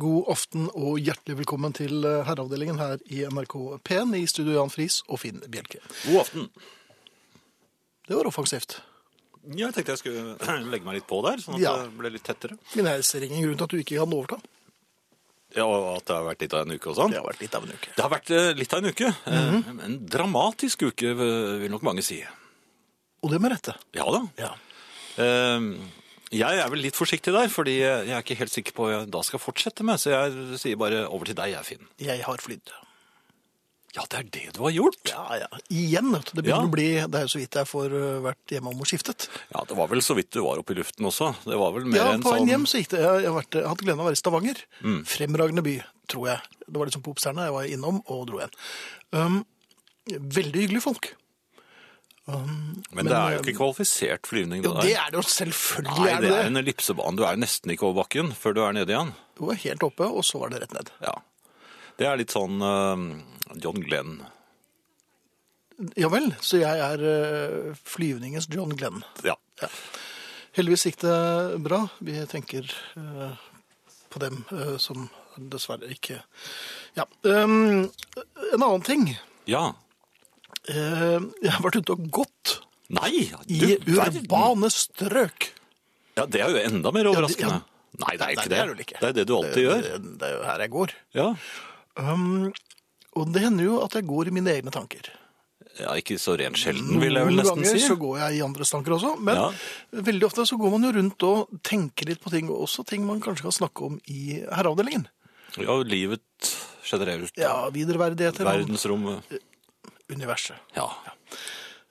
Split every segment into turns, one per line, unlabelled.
God aften og hjertelig velkommen til eh, herreavdelingen her i NRK P1 i studio Jan Friis og Finn Bjelke.
God aften.
Det var offensivt.
Ja, jeg tenkte jeg skulle legge meg litt på der, sånn at
Ja.
det ble litt tettere.
Men jeg ser ingen grunn til at du ikke kan overta.
Ja, og at det har vært litt av en uke og sånn.
vært litt av en uke.
Det har vært eh, litt av en uke. Eh,
Mhm.
En dramatisk uke, eh, vil nok mange si.
Og det med rette.
Ja da.
Ja.
Eh, Jeg er vel litt forsiktig der, fordi jeg er ikke helt sikker på hva jeg da skal fortsette med, så jeg sier bare over til deg, jeg, Finn.
Jeg har flydd.
Ja, det er det du har gjort.
Ja, ja. Igjen, vet du. Det
Ja.
begynner å bli Det er jo så vidt jeg får øh, vært hjemme om og skiftet.
Ja, det var vel så vidt du var oppe i luften også. Det var vel mer
ja,
en
på
sånn...
en hjem så gikk det. Jeg jeg har vært, jeg har hatt gleden av å være i Stavanger. Fremragende by, tror jeg. Det var liksom popstjerne. Jeg var innom og dro igjen. Um, veldig hyggelige folk.
Men det
men, eh,
er jo ikke kvalifisert flyvning.
Jo,
der.
det er det jo selvfølgelig.
Nei,
er
det
det.
er en ellipsebane. Du er jo nesten ikke over bakken før du er nede igjen.
Det var helt oppe, og så var det rett ned.
Ja. Det er litt sånn eh, John Glenn.
Ja vel, så jeg er eh, flyvningens John Glenn.
Ja.
Heldigvis gikk det bra. Vi tenker eh, på dem eh, som dessverre ikke Ja. Um, en annen ting.
ja.
Eh, jeg har vært ute og gått
Nei!
i
du verden.
urbane strøk.
Ja, det er jo enda mer overraskende. Nei, det er ikke det.
det, vel ikke.
Det er det du alltid gjør.
Eh, Det, det er jo her jeg går.
Ja.
Um, og det hender jo at jeg går i mine egne tanker.
ja, ikke så rent sjelden, vil jeg vel
Noen
nesten
ganger
si.
så går jeg i andres tanker også, men
Ja.
veldig ofte så går man jo rundt og tenker litt på ting, og også ting man kanskje kan snakke om i herreavdelingen.
Ja, livet generelt.
Ja, viderverdigheter om
Verdensrommet.
universet.
Ja.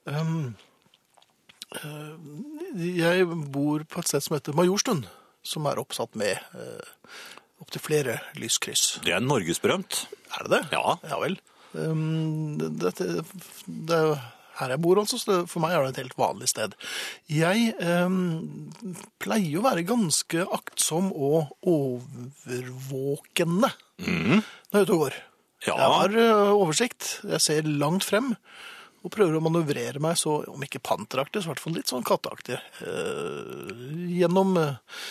Um, eh, jeg bor på et sted som heter Majorstund, som er oppsatt med uh, opptil flere lyskryss.
Det er norgesberømt.
Er det det?
Ja.
Ja vel. Um, dette, det er jo her jeg bor, altså, så det- for meg er det et helt vanlig sted. Jeg um, pleier å være ganske aktsom og overvåkende når jeg er ute og går.
Mhm. Ja.
Jeg har uh, oversikt, jeg ser langt frem, og prøver å manøvrere meg så, om ikke panteraktig, så i hvert fall litt sånn katteaktig, eh, gjennom eh,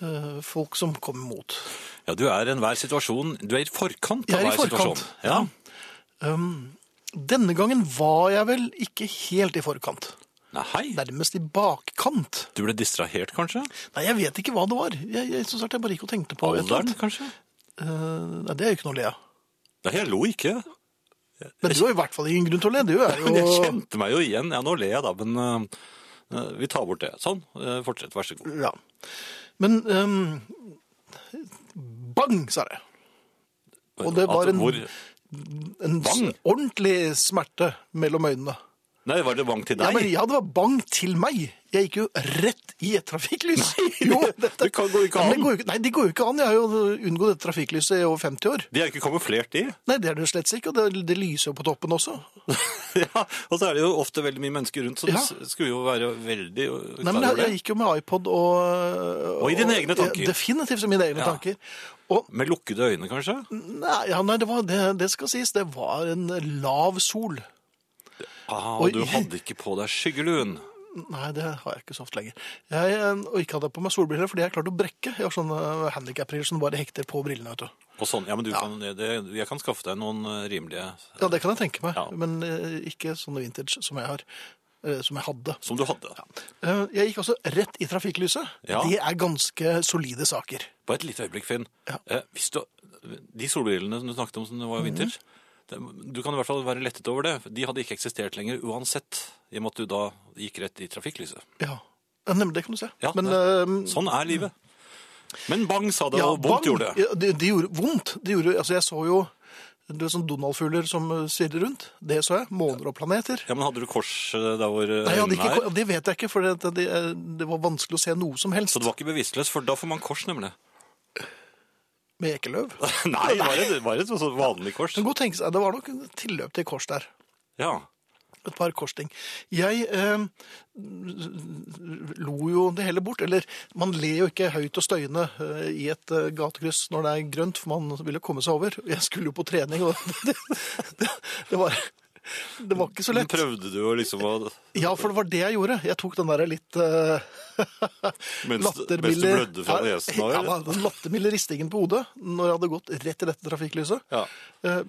eh, folk som kommer mot.
Ja, du er i enhver situasjon Du er i forkant
Jeg
av
er i
hver
forkant.
situasjon. Ja.
Denne gangen var jeg vel ikke helt i forkant.
Nei, hei.
Nærmest i bakkant.
Du ble distrahert, kanskje?
Nei, jeg vet ikke hva det var. Jeg, jeg, som sagt, jeg bare gikk og tenkte på et eller
Alderen,
annet.
kanskje?
Eh, nei, det er jo ikke noe å le av.
Nei, jeg lo ikke.
Men du har i hvert fall ingen grunn til å le. Du er
Men jeg
jo
kjente meg jo igjen. Ja, nå ler jeg da, men eh, vi tar bort det. Sånn, eh, fortsett, vær så god.
ja. Men ehm, bang, sa det. Og det var
At-
en-
Hvor...
En
Bang?
ordentlig smerte mellom øynene.
Nei, var det bang til
Ja,
deg?
men ja, det var bang til meg. Jeg gikk jo rett i et trafikklys. jo, dette...
det kan- går ikke
Ja, men det
an.
går jo ikke- Nei, det går jo ikke an. Jeg har jo unngått dette trafikklyset i over 50 år.
De er jo ikke kamuflert, de.
Nei, det er det slett ikke, og det, det lyser jo på toppen også.
ja, og så er det jo ofte veldig mye mennesker rundt, så
Ja.
du s- skulle jo være veldig øh,
Nei,
klar
men jeg,
over det.
jeg gikk jo med iPod og
Og i dine egne tanker.
Ja, Definitivt i mine egne
Ja.
tanker. Og
Med lukkede øyne, kanskje?
nei, ja, nei det, var, det, det skal sies, det var en lav sol.
Ah,
Oi.
og du hadde ikke på deg skyggeluen.
Nei, det har jeg ikke så ofte lenger. Jeg, eh, og ikke hadde jeg på meg solbriller fordi jeg klarte å brekke. Jeg har sånne handikap-briller som bare hekter på brillene, vet du.
Og sånn, ja, men du Kan, det, jeg kan skaffe deg noen øh, rimelige
Ja, det kan jeg tenke meg,
Ja.
men eh, ikke sånne vintage som jeg har. eh, Som jeg hadde.
som du hadde.
Eh, Jeg gikk også rett i trafikklyset.
Ja.
Det er ganske solide saker.
På et lite øyeblikk, Finn.
Ja. Mhm.
Eh, hvis du, de solbrillene som du snakket om som det var i vinter, det- du kan i hvert fall være lettet over det. De hadde ikke eksistert lenger uansett, i og med at du da gikk rett i trafikklyset.
Ja, ja nemlig, det kan du se.
Ja,
Men,
det-
ehm,
Sånn er livet. Men bang, sa det,
ja,
og
bang.
vondt gjorde det.
Ja, det. Det gjorde vondt. Det gjorde, altså, jeg så jo du vet, sånn Donald-fugler som eh, svirrer rundt. Det så jeg. Måner og planeter.
Ja, men hadde du kors eh, der hvor
Nei,
eh,
jeg hadde
øynene
ikke,
er?
det vet jeg ikke, for det, det, det var vanskelig å se noe som helst
Så du var ikke bevisstløs, for da får man kors, nemlig.
med ekeløv. Det
Nei, det var et, det var et sånn vanlig kors.
kan godt tenke seg, det var nok et tilløp til kors der.
Ja.
Et par korsting. Jeg eh, lo jo det hele bort. Eller man ler jo ikke høyt og støyende eh, i et eh, gatekryss når det er grønt, for man vil jo komme seg over. Jeg skulle jo på trening, og det, det, det var Det var ikke så
Men
lett.
Prøvde du å liksom å
Ja, for det var det jeg gjorde. Jeg tok den der litt eh,
Mens,
lattermilde
mens du blødde fra
Ja,
nesen av?
Ja,
eller?
da, den lattermilde ristingen på hodet når jeg hadde gått rett i dette trafikklyset.
Ja.
Eh,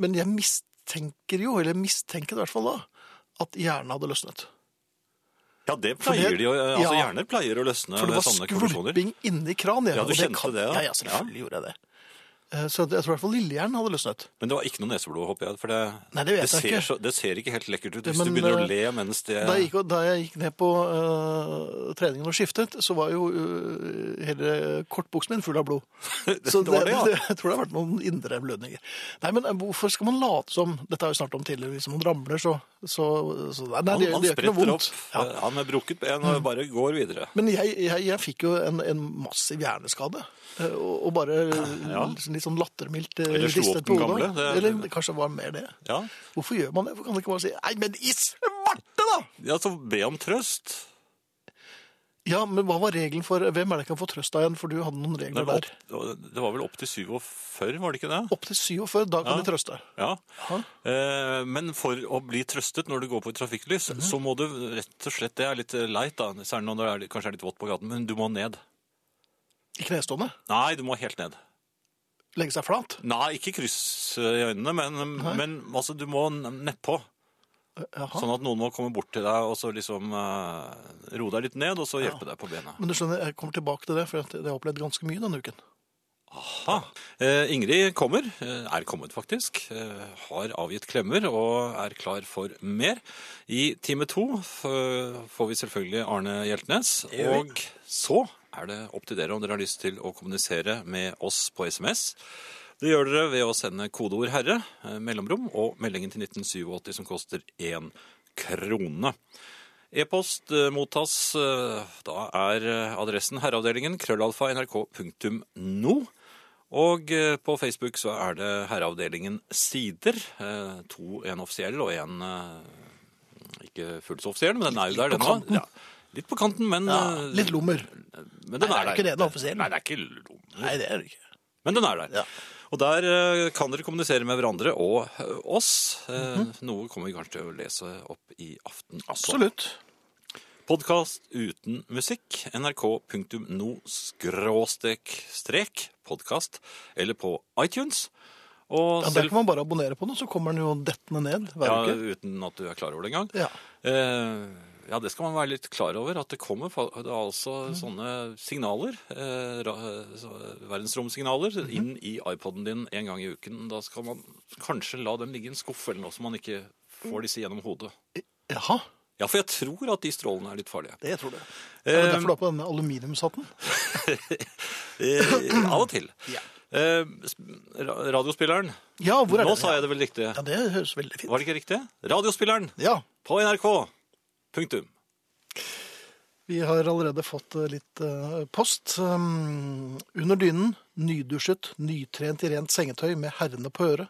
Men jeg mistenker jo, eller mistenker det i hvert fall da, at hjernen hadde løsnet.
ja, det
For det-
pleier de å Altså,
ja.
hjerner pleier å løsne
For det
ved
var
sånne konklusjoner.
skvulping inni kranen.
Ja,
og
du
det
kjente det, ja.
Ja, ja, selvfølgelig gjorde jeg det. Eh, Så jeg tror i hvert fall lillehjernen hadde løsnet.
Men det var ikke noe neseblod, håper jeg. For det,
Nei, det vet jeg
ser,
ikke.
så, det ser ikke helt lekkert ut
Ja,
hvis du
men,
begynner
eh,
å le mens det
Da jeg, gikk, da jeg gikk ned på øh, treningen og skiftet, så var jo øh, hele kortbuksen min full av blod. Så
Det var det, ja.
jeg tror det har vært noen indre blødninger. Nei, men eh, hvorfor skal man late som Dette har vi snart om tidligere. Hvis man ramler, så, så, så Nei,
Han,
det, det gjør
han
ikke noe
spretter opp.
vondt. Ja. Mm.
eh, Han er brukket ben og bare går videre.
Men jeg, jeg, jeg fikk jo en, en massiv hjerneskade. eh, Og, og bare
Ja.
litt sånn- litt sånn lattermildt eh,
Eller slo opp
ristet
den
på hodet.
gamle, det-
Eller kanskje det var mer det.
Ja.
Hvorfor gjør man det? Hvorfor kan man ikke bare si Nei, men i svarte, da!
ja, så be om trøst.
Ja, men hva var regelen for Hvem er det jeg kan få trøst av igjen? For du hadde noen
Det
regler
var,
der.
opp, det var vel opp til 47, var det ikke det?
Opp til 47, da kan
Ja.
de trøste.
Ja.
Ja.
Eh, Men for å bli trøstet når du går på et
Mhm.
trafikklys, så må du rett og slett Det er litt eh, leit, da, særlig når det er, litt- kanskje er litt vått på gaten, men du må ned.
I knestående.
Nei, du må helt ned.
Legge seg flat.
Nei, ikke kryss eh, i øynene, men, men altså, du må n- nedpå.
Jaha.
Sånn at noen må komme bort til deg og så liksom eh, roe deg litt ned, og så hjelpe deg på bena.
Men du skjønner, jeg kommer tilbake til det, for jeg har opplevd ganske mye denne uken.
Ha. Eh, Ingrid kommer, eh, er kommet faktisk, eh, har avgitt klemmer og er klar for mer. I time to eh, får vi selvfølgelig Arne Hjeltnes, og så er det opp til dere om dere har lyst til å kommunisere med oss på SMS. Det gjør dere ved å sende kodeord 'herre', eh, mellomrom, og meldingen til 1987 som koster én krone. E-post eh, mottas. eh, Da er eh, adressen herreavdelingen krøllalfa nrk.no. Og eh, på Facebook så er det Herreavdelingen Sider. eh, To, en offisiell og en eh, ikke fullt så offisiell, men den er jo der,
på
den også.
kanten.
Ja, litt på kanten, men,
Ja,
eh,
litt lommer.
men
Nei, det
den
er
er der.
ikke det, den er offisiell.
Nei, det er ikke lom.
Nei, det er det ikke.
Men den er der.
Ja.
Og der eh, kan dere kommunisere med hverandre og eh, oss. Eh, Noe kommer vi kanskje til å lese opp i aften. også.
Mhm. Absolutt.
Podkast uten musikk. nrk.no skråstrek strek podkast. Eller på iTunes. Og
Ja, der
selv
kan man bare abonnere på den, så kommer den jo dettende ned hver
ja,
uke.
uten at du er klar over det engang.
Ja.
Eh, ja, det skal man være litt klar over. At det kommer fa- det er
Mhm.
altså sånne signaler, eh, ra- så- verdensromsignaler,
Mhm.
inn i iPoden din en gang i uken. Da skal man kanskje la dem ligge i en skuff eller noe, så man ikke
Mm.
får disse gjennom hodet.
Jaha,
Ja, for jeg tror at de strålene er litt farlige.
det tror du. Er
Ehm,
det derfor du har på denne aluminiumshatten?
Eh, av og til.
Ja.
Eh, sp- ra- radiospilleren.
Ja, hvor er den?
Nå sa jeg det vel riktig.
Ja, det høres veldig fint.
Var det ikke riktig? Radiospilleren
Ja,
på NRK. Punktum.
vi har allerede fått eh, litt eh, post. Um, under dynen, nydusjet, nytrent i rent sengetøy med herrene på øret.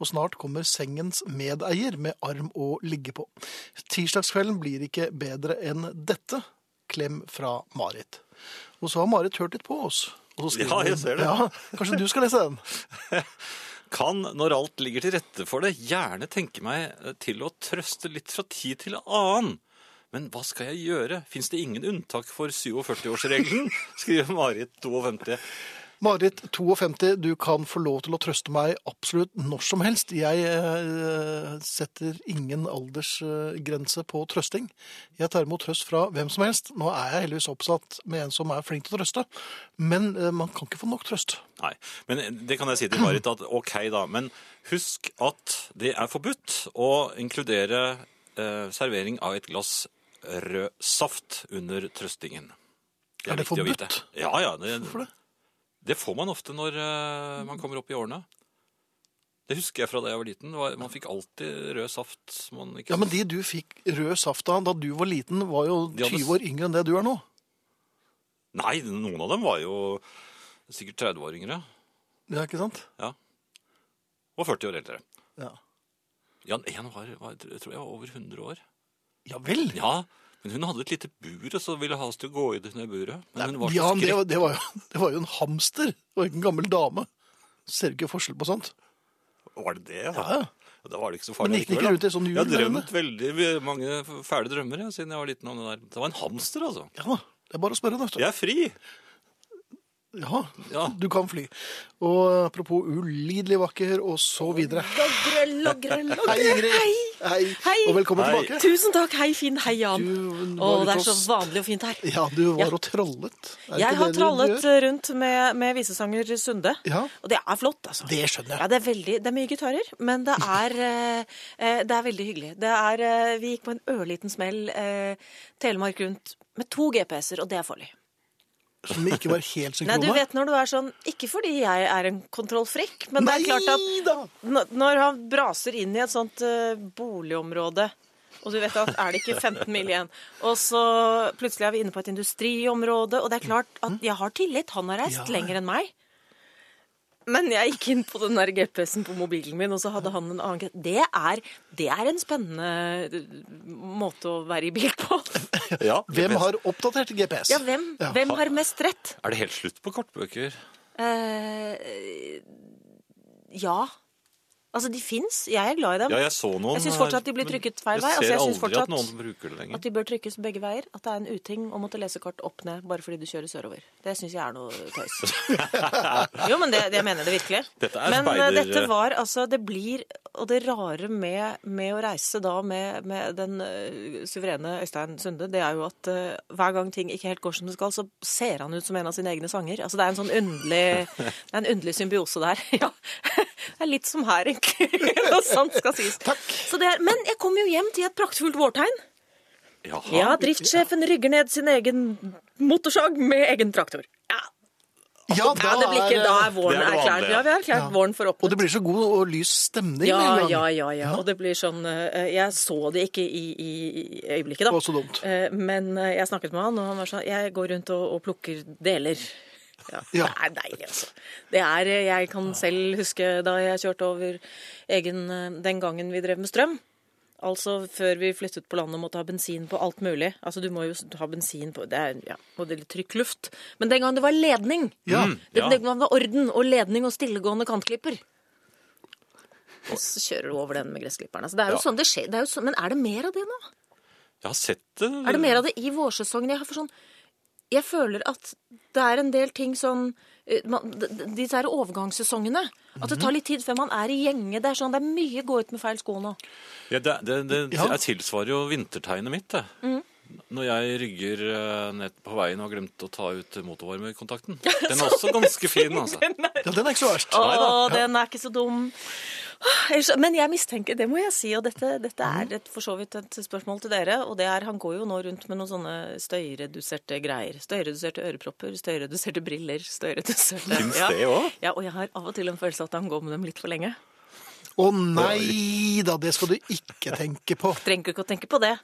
Og snart kommer sengens medeier med arm å ligge på. Tirsdagskvelden blir ikke bedre enn dette. Klem fra Marit. Og så har Marit hørt litt på oss. Og så skriver
Ja, jeg
hun-
ser det.
Ja, kanskje du skal lese den?
Kan, når alt ligger til rette for det, gjerne tenke meg eh, til å trøste litt fra tid til annen. Men hva skal jeg gjøre? Fins det ingen unntak for 47-årsregelen? Skriver Marit 52.
Marit 52, du kan få lov til å trøste meg absolutt når som helst. Jeg eh, setter ingen aldersgrense på trøsting. Jeg tar imot trøst fra hvem som helst. Nå er jeg heldigvis oppsatt med en som er flink til å trøste, men eh, man kan ikke få nok trøst.
Nei, men eh, det kan jeg si til Marit at ok da, men husk at det er forbudt å inkludere eh, servering av et glass rød saft under trøstingen.
Er det
viktig å
forbudt?
vite. Ja, ja. Det,
Hvorfor det?
det får man ofte når eh, man kommer opp i årene. Det husker jeg fra da jeg var liten. Det var- Man fikk alltid rød saft. som Man ikke
Ja, men de du fikk rød saft av da du var liten, var jo
De hadde-
20 år yngre enn det du er nå.
Nei, noen av dem var jo sikkert 30-åringere.
Ja, ikke sant?
Ja. Og 40 år eldre.
Ja,
Jan, en var, var, tror jeg var over 100 år.
ja vel?
Ja, men hun hadde et lite bur, og så ville ha oss til å gå i det ned buret. Men hun var
Ja,
så
men det, var- det, var jo, det var jo en hamster, og ikke en gammel dame. Ser du ikke forskjell på sånt?
skrekk- Var det det?
Ja, ja.
Og da var det ikke så
Men
farlig
gikk den ikke rundt i sånn hjul
Jeg har
der
drømt veldig mange fæle drømmer jeg, siden jeg var liten om det der. Det var en hamster, altså.
Ja da. Det er bare å spørre, da.
Jeg er fri!
Ja,
Ja.
du kan fly. Og apropos ulidelig vakker og så videre.
Logre, logre,
Hei,
logre.
Ingrid.
Hei.
Hei.
Hei.
Og velkommen
Hei.
tilbake.
Tusen takk. Hei, Finn. Hei, Jan.
Du
Å,
var
det er
ute
så
og s-
vanlig og fint her.
Ja, du var
Ja.
og trollet. Er det
Jeg
ikke
har
det du
trallet
gjør?
rundt med, med visesanger Sunde,
Ja.
og det er flott, altså.
Det skjønner jeg.
Ja, det er, veldig, det er mye gitarer, men det er, eh, eh, det er veldig hyggelig. Det er, eh, vi gikk på en ørliten smell eh, Telemark rundt med to GPS-er, og det er farlig.
Som ikke var helt
Nei, du
synkrone.
vet når du er sånn Ikke fordi jeg er en kontrollfrikk, men det er klart at
Nei da!
N- Når han braser inn i et sånt eh, boligområde, og du vet at er det ikke 15 mil igjen, og så plutselig er vi inne på et industriområde, og det er klart at jeg har tillit, han har reist
Ja.
lenger enn meg. Men jeg gikk inn på den der GPS-en på mobilen min, og så hadde han en annen gre- Det er, det er en spennende eh, måte å være i bil på.
Ja,
Hvem
GPS.
har oppdatert GPS?
Ja, hvem,
Ja.
hvem har mest rett?
Er det helt slutt på kortbøker?
Eh, ja. Altså, de fins. Jeg er glad i dem.
Ja, jeg så noen.
Jeg syns fortsatt de blir
men
trykket feil vei. Altså, jeg
jeg ser
syns
aldri
fortsatt-
at noen bruker det lenger.
At de bør trykkes begge veier. At det er en uting å måtte lese kort opp ned bare fordi du kjører sørover. Det syns jeg er noe tøys. Jo, men det, det mener jeg det virkelig.
Dette er
men eh,
speider-
dette var altså Det blir Og det rare med, med å reise da med, med den eh, suverene Øystein Sunde, det er jo at eh, hver gang ting ikke helt går som det skal, så ser han ut som en av sine egne sanger. Altså det er en sånn underlig Det er en underlig symbiose der. Ja. Det er litt som her, egentlig. Noe sant skal sies. Så det er, men jeg kom jo hjem til et praktfullt vårtegn.
Jaha.
Ja, driftssjefen rygger ned sin egen motorsag med egen traktor. Ja,
Ja, eh,
ja, det blir ikke, da er våren
Det er det
erklært.
vanlige.
Ja, vi har erklært våren for
Og
åpnet.
det blir så god og lys stemning
Ja,
med en gang.
ja, ja, ja. Og det blir sånn eh, Jeg så det ikke i, i, i øyeblikket, da.
Det var så dumt.
Eh, Men eh, jeg snakket med han, og han var sånn Jeg går rundt og, og plukker deler. Ja.
Ja.
Det er deilig, altså. Det er, eh, jeg kan selv huske da jeg kjørte over egen eh, Den gangen vi drev med strøm. Altså før vi flyttet på landet og måtte ha bensin på alt mulig. Altså du må jo s- ha bensin på Det er ja, og det er litt trykk luft. Men den gangen det var ledning.
Ja.
Det,
ja.
det var orden og ledning og stillegående kantklipper. Og så kjører du over den med gressklipperen. Altså, det er jo
Ja.
sånn det skjer. Det er jo sånn, men er det mer av det nå?
Jeg har sett det.
Er det mer av det i vårsesongen? Jeg, har for sånn, jeg føler at det er en del ting sånn eh, man, d- d- Disse her overgangssesongene. At det tar litt tid før man er i gjenge. Det er sånn, det er mye gå ut med feil sko nå.
Ja, det, det, det
Ja.
Jeg tilsvarer jo vintertegnet mitt, det.
Mm.
Når jeg rygger eh, ned på veien og har glemt å ta ut motorvarmekontakten. Den er også ganske fin, altså.
Ja, den er ikke så verst.
Å,
da.
den er ikke så dum. Åh, ellers- Men jeg mistenker, det må jeg si, og dette, dette
Mm.
er et, for så vidt et spørsmål til dere. Og det er, han går jo nå rundt med noen sånne støyreduserte greier. Støyreduserte ørepropper, støyreduserte briller, støyreduserte
Finnes det også?
Ja, og jeg har av og til en følelse av at han går med dem litt for lenge.
Å nei da, det skal du ikke tenke på.
Trenger ikke å tenke på det.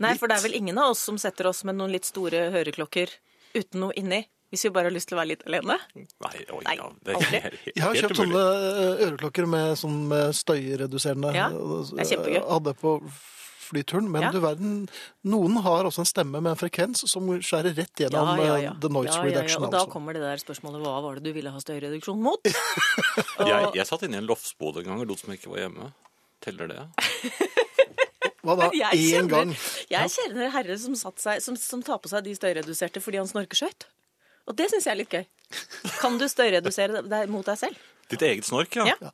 Nei, for det er vel ingen av oss som setter oss med noen litt store høreklokker uten noe inni. Hvis vi bare har lyst til å være litt alene.
Nei, oi,
Nei,
ja, det
aldri.
er helt,
Jeg har
helt
kjøpt
umulig.
sånne eh, øreklokker med, sånn med støyreduserende
Ja, det er kjempegøy.
Jeg Hadde på flyturen. Men
Ja.
du verden, noen har også en stemme med en frekvens som skjærer rett gjennom eh, the noise
Ja, ja, ja.
reduction.
Og da
altså.
kommer det der spørsmålet hva var det du ville ha støyreduksjon mot?
Jeg, jeg satt inne i en loftsbod en gang og lot som jeg ikke var hjemme. Teller det?
Hva da?
Jeg
Én
kjenner,
gang.
Jeg kjenner herre som, satt seg, som, som tar på seg de støyreduserte fordi han snorker skøyt. Og det syns jeg er litt gøy. Kan du støyredusere deg mot deg selv?
Ditt eget snork, ja.
Ja.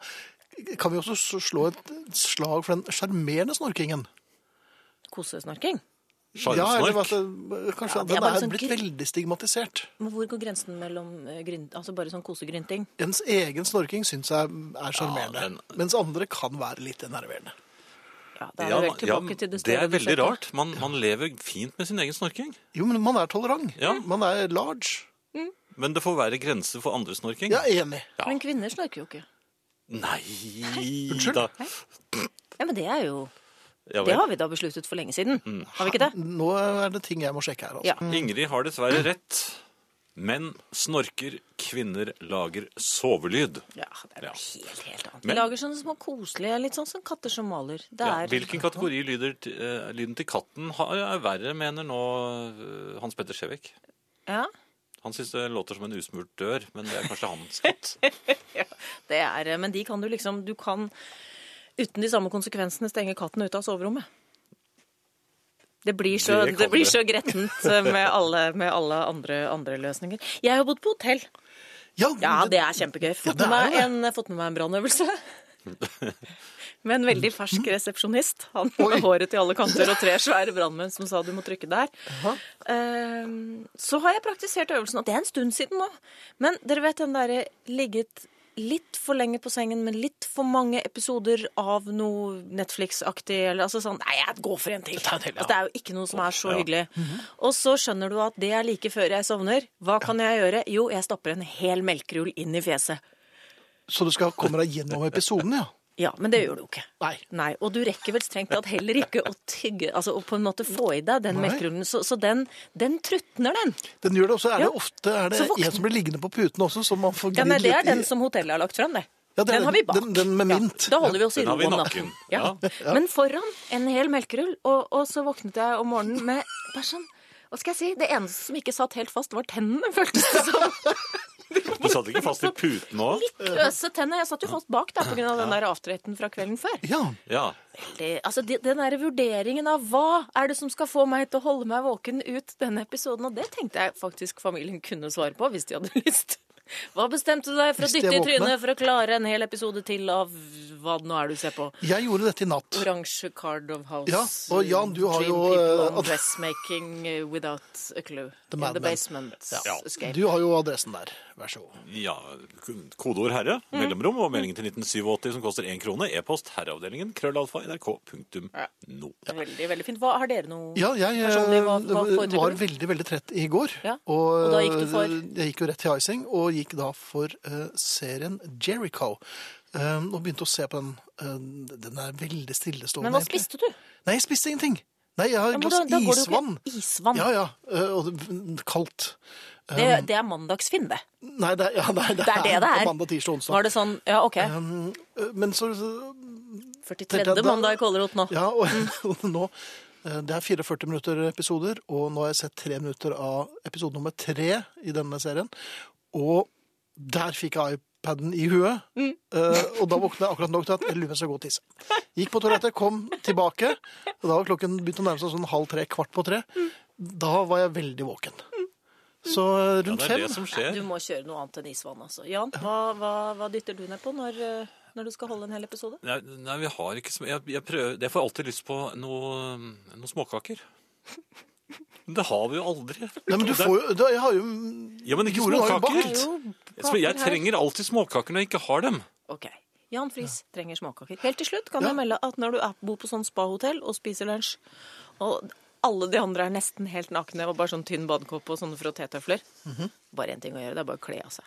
Kan vi også s- slå et slag for den sjarmerende snorkingen?
Kosesnorking.
Ja, eller hva
Sjarmsnork.
det- kanskje
Ja, det er
den
bare
er
sånn
blitt
gr-
veldig stigmatisert.
Men hvor går grensen mellom eh, gryn, altså bare sånn kosegrynting?
Ens egen snorking syns jeg er sjarmerende,
Ja, den-
mens andre kan være litt enerverende.
Ja, da er
Ja,
det vel
ja,
tilbake til det
det er
støyreduserte.
veldig rart. Man, man lever fint med sin egen snorking.
Jo, men man er tolerant.
Ja.
Man er large.
Men det får være grenser for andres snorking.
Jeg er enig.
Ja.
Men kvinner snorker jo ikke.
Nei
Unnskyld?
da.
Ja, men det er jo
Ja,
Det
vel.
har vi da besluttet for lenge siden. Har vi ikke det?
Nå er det ting jeg må sjekke her.
Ja.
Altså.
Ingrid har dessverre rett. Menn snorker, kvinner lager sovelyd.
Ja, det er
Ja.
noe helt, helt annet.
Men-
Vi lager sånne små koselige, litt sånn som katter som maler. Det
Ja,
er
hvilken kategori lyder til, eh, lyden til katten har, er verre, mener nå eh, Hans Petter Skjevik.
Ja,
Han syns det låter som en usmurt dør, men det er kanskje hans katt.
eh, det er Men de kan du liksom Du kan uten de samme konsekvensene stenge katten ute av soverommet. Det blir så,
Det
det
kan
blir
det.
så grettent eh, med alle, med alle andre, andre løsninger. Jeg har bodd på hotell. Ja, det er kjempegøy. Fått
det
med
er
meg
jo
en, fått med meg en brannøvelse. Med en veldig fersk resepsjonist. Han med håret til alle kanter og tre svære brannmenn som sa du må trykke der. Ehm, Så har jeg praktisert øvelsen, og det er en stund siden nå. Men dere vet den derre ligget litt for lenge på sengen med litt for mange episoder av noe Netflix-aktig eller altså sånn Nei, jeg går for en til.
Ta en til, ja. Mhm.
altså, det er jo ikke noe som er så hyggelig. Og så skjønner du at det er like før jeg sovner. Hva kan jeg gjøre? Jo, jeg stapper en hel melkerull inn i fjeset.
Så du skal komme deg gjennom episoden, ja?
Ja, men det gjør du jo ikke.
Nei.
Nei, Og du rekker vel strengt tatt heller ikke å tygge Altså å på en måte få i deg den
Nei.
melkerullen. Så, så den, den trutner, den.
Den gjør det også. Er det
Ja.
ofte er det
Så voksen-
en som blir liggende på puten også, som man får
Ja,
gnidd
nei, Det
litt
er
i?
den som hotellet har lagt frem, det.
Ja, det er
den har vi bak.
den- den med mint.
Ja, da holder vi oss i
Den har
ro
vi i
om
nakken.
natten. Ja. Men foran en hel melkerull, og, og så våknet jeg om morgenen med bare sånn Hva skal jeg si? Det eneste som ikke satt helt fast, var tennene, føltes det som.
Du satt ikke fast i puten nå?
Litt løse tenner. Jeg satt jo fast bak der pga. den der avtreten fra kvelden før.
Ja.
Ja.
det, altså, de, den der vurderingen av hva er det som skal få meg til å holde meg våken ut denne episoden, og det tenkte jeg faktisk familien kunne svare på hvis de hadde lyst. Hva bestemte du deg for å
Hvis de
dytte i
er våkne?
trynet for å klare en hel episode til av hva det nå er du ser på?
Jeg gjorde dette i natt.
Oransje Card of House,
Ja, og Jan, du har
Dream
jo,
People
eh,
on Dressmaking eh, Without a Clue,
The
In
Mad
the
Men.
Basement
Ja.
Escape.
Du har jo adressen der. Vær så god.
ja. Kodeord herre,
Mm.
mellomrom og meldingen til 1987 som koster én krone. E-post herreavdelingen krøllalfa nrk.no.
Veldig, veldig fint. Hva, har dere noe
Ja, jeg eh,
personlig? Hva, hva
var
foretrekker du?
veldig, veldig trett i går.
Ja, og da gikk du for?
eh, Jeg gikk jo rett til icing, og gikk da for eh, serien Jericho. Eh, og begynte å se på den. Eh, den er veldig stillestående.
Men hva
egentlig.
spiste du?
Nei, jeg spiste ingenting. Nei, jeg har
Ja,
et
men
glass
da- da går det jo
isvann.
ikke- Isvann.
Ja, ja. eh, Og det- kaldt.
Det, det er mandagsfinn, det.
Nei, det er ja, nei,
Det er det det
på
er.
Mandag, tirsdag, onsdag.
Var det sånn Ja, OK.
Eh, Men så så-
43. mandag i Kålerot nå.
Ja, og, og nå eh, Det er 44 minutter episoder, og nå har jeg sett tre minutter av episode nummer tre i denne serien. Og der fikk jeg iPaden i huet,
Mm.
eh, og da våkna jeg akkurat nok til at jeg lurer på om jeg skal gå og tisse. Gikk på toalettet, kom tilbake, og da var klokken begynt å nærme seg sånn halv tre, kvart på tre.
Mm.
Da var jeg veldig våken. Så eh,
Ja,
rundt
det er
fem
det som skjer.
Du må kjøre noe annet enn isvann, altså. Jan, hva, hva, hva dytter du ned på når, eh, når du skal holde en hel episode?
Nei, nei, vi har ikke så mye. Jeg, jeg, prøver- jeg får alltid lyst på noe, noen småkaker. Men det har vi jo aldri.
Nei, men du
Det er-
får jo da- Jeg har jo
Ja, men ikke
Jorunn har jo
småkaker.
bakt.
Så Jeg trenger alltid småkaker når jeg ikke har dem.
OK. Jan Friis trenger småkaker. Helt til slutt kan jeg melde at når du er, bor på sånn spahotell og spiser lunsj, og alle de andre er nesten helt nakne og bare sånn tynn badekåpe og sånne frottétøfler Bare én ting å gjøre, det er bare å kle av seg.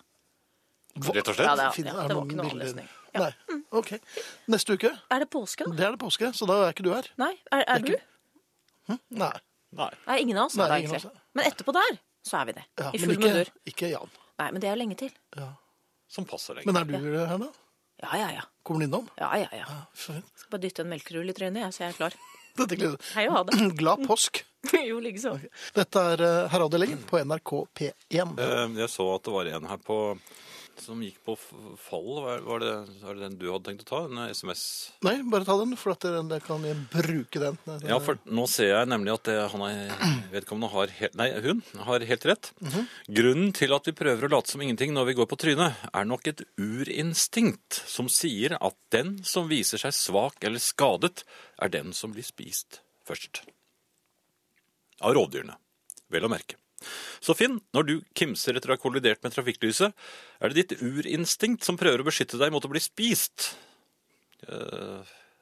Rett og
Ja,
slett.
det er-
Finn,
ja, det var
noen
ikke noe
bilder?
avlesning. Ja.
Nei. OK. Neste uke,
Er det påske, da?
det er det påske, så da er ikke du her.
Nei? Er, er du?
Nei.
Nei.
Nei, ingen av oss
Nei,
er det
ingen av
egentlig.
oss
Men etterpå der, så er vi det.
Ja,
I
men
full
ikke,
mundur.
ikke Jan.
Nei, men det er jo lenge til.
Som passer deg.
Men er du her, da?
Ja, ja, ja.
Kommer du innom?
Ja, ja, ja.
Fint.
Skal bare dytte en melkerull i trynet, jeg, så jeg er klar.
Dette gleder jeg
Hei og ha det.
Glad påsk.
jo, likeså.
Dette er eh, Herreavdelingen på NRK P1.
Eh, Jeg så at det var en her på som gikk på f- fall. Var var det, var det den du hadde tenkt å ta? En SMS?
Nei, bare ta den, for at dere dere kan bruke den.
Ja, for nå ser jeg nemlig at det, han er, vedkommende har helt, nei, hun har helt rett. Grunnen til at vi prøver å late som ingenting når vi går på trynet, er nok et urinstinkt som sier at den som viser seg svak eller skadet, er den som blir spist først. Av rovdyrene, vel å merke. Så Finn, når du kimser etter å ha kollidert med trafikklyset, er det ditt urinstinkt som prøver å beskytte deg mot å bli spist. Eh,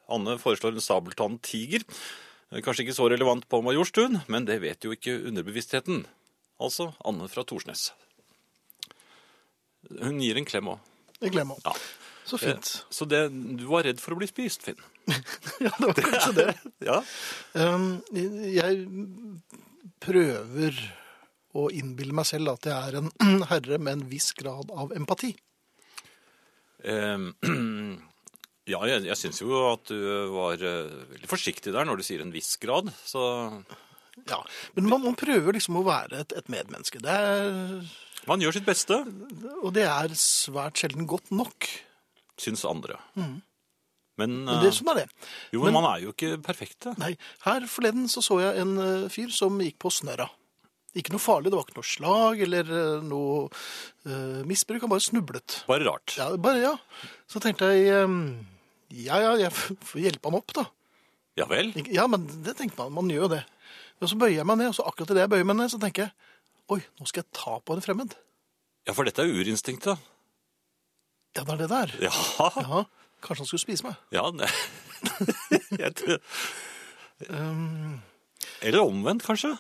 Anne foreslår en sabeltannet tiger. Eh, Kanskje ikke så relevant på Majorstuen, men det vet jo ikke underbevisstheten. Altså Anne fra Torsnes. Hun gir en klem òg.
Jeg glemmer
Ja.
Så fint.
Så det, du var redd for å bli spist, Finn.
Ja, det var kanskje det.
Ja.
Um, jeg prøver å innbille meg selv at jeg er en herre med en viss grad av empati.
Eh, ja, jeg, jeg syns jo at du var eh, veldig forsiktig der når du sier en viss grad, så
Ja, Men man, man prøver liksom å være et, et medmenneske. Det er,
man gjør sitt beste,
og det er svært sjelden godt nok.
syns andre. Men,
Mm.
eh,
Men det som er det.
jo, men, man er jo ikke perfekte.
Nei, her forleden så, så jeg en eh, fyr som gikk på snørra. Ikke noe farlig, det var ikke noe slag eller eh, noe eh, misbruk, han bare snublet.
Bare rart.
Ja, bare ja. Så tenkte jeg, ehm, ja, ja, jeg får hjelpe han opp da.
Ja vel.
Ikke- Ja, men det tenkte man, man gjør jo det. Men så bøyer jeg meg ned, og så akkurat i det jeg bøyer meg ned, så tenker jeg, oi, nå skal jeg ta på en fremmed.
Ja, for dette er urinstinktet.
Ja, det er det der.
Ja,
Ja, kanskje han skulle spise meg.
ja ne. Jeg tror-
Ehm,
Eller omvendt, kanskje.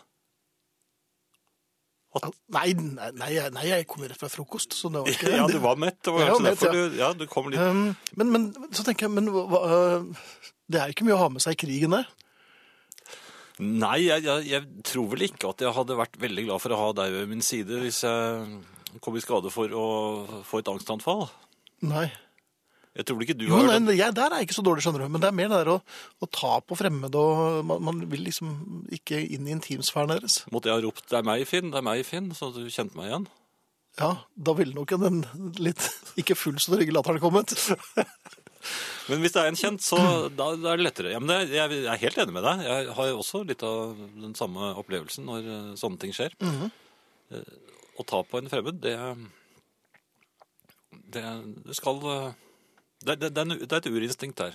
al- nei, nei, nei, jeg- nei, jeg kom rett fra frokost, så det var ikke
Ja, du var mett. Det var
Jeg
kanskje
var mett,
derfor
ja.
du, ja, du kom litt
Ehm, men, men så tenker jeg, men hva, hva, øh, det er jo ikke mye å ha med seg i krigen det.
Nei, jeg, jeg, jeg tror vel ikke at jeg hadde vært veldig glad for å ha deg ved min side hvis jeg kom i skade for å få et angstanfall.
Nei.
Jeg tror vel ikke du
Jo,
har
nei,
vært
nei, jeg, der er jeg ikke så dårlig, skjønner du. Men det er mer det der å, å ta på fremmede, og man, man vil liksom ikke inn i intimsfæren deres.
Måtte jeg ha ropt 'det er meg, Finn', det er meg, Finn, så du kjente meg igjen?
Ja, da ville nok den litt ikke full så trygge latteren kommet.
Men hvis det er en kjent, så da, da er det lettere. Ja, men det, jeg, jeg er helt enig med deg. Jeg har jo også litt av den samme opplevelsen når eh, sånne ting skjer.
Mhm.
Eh, Å ta på en fremmed, det Det, det skal eh, det, det, det, er en- det er et urinstinkt der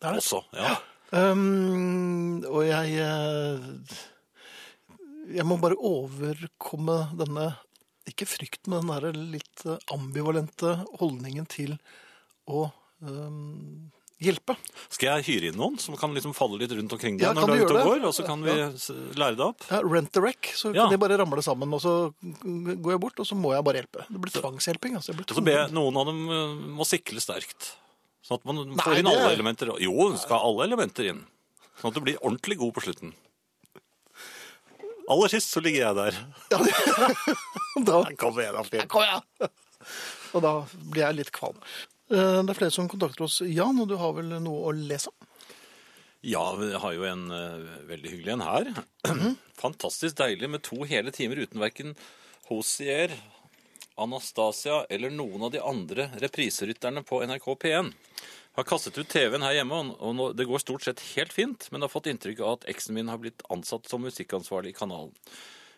Det er det.
også. ja.
Ehm, og jeg eh, Jeg må bare overkomme denne Ikke frykten, men den der litt eh, ambivalente holdningen til å ehm, hjelpe.
Skal jeg hyre inn noen som kan liksom falle litt rundt omkring deg
Ja,
når
kan
du
du
er ute
gjøre
og
det?
går, og så kan vi s- lære deg opp?
Ja, rent the wreck, så
Ja.
kan de bare ramle sammen. Og så går jeg bort, og så må jeg bare hjelpe. Det blir tvangshjelping. altså. Jeg blir
Og så ber jeg noen av dem eh, må sikle sterkt. Sånn at man
Nei,
får inn
det-
alle elementer. Jo, skal alle elementer inn. Sånn at du blir ordentlig god på slutten. Aller sist så ligger jeg der.
tvungen. Da-
Kom igjen, da, Finn.
Kom igjen! Og da blir jeg litt kvalm. Eh, Det er flere som kontakter oss. Jan, og du har vel noe å lese?
Ja, vi har jo en eh, veldig hyggelig en her. Fantastisk deilig med to hele timer uten verken Hosier, Anastasia eller noen av de andre repriserytterne på NRK P1. Har kastet ut TV-en her hjemme, og- og nå, det går stort sett helt fint, men har fått inntrykk av at eksen min har blitt ansatt som musikkansvarlig i kanalen.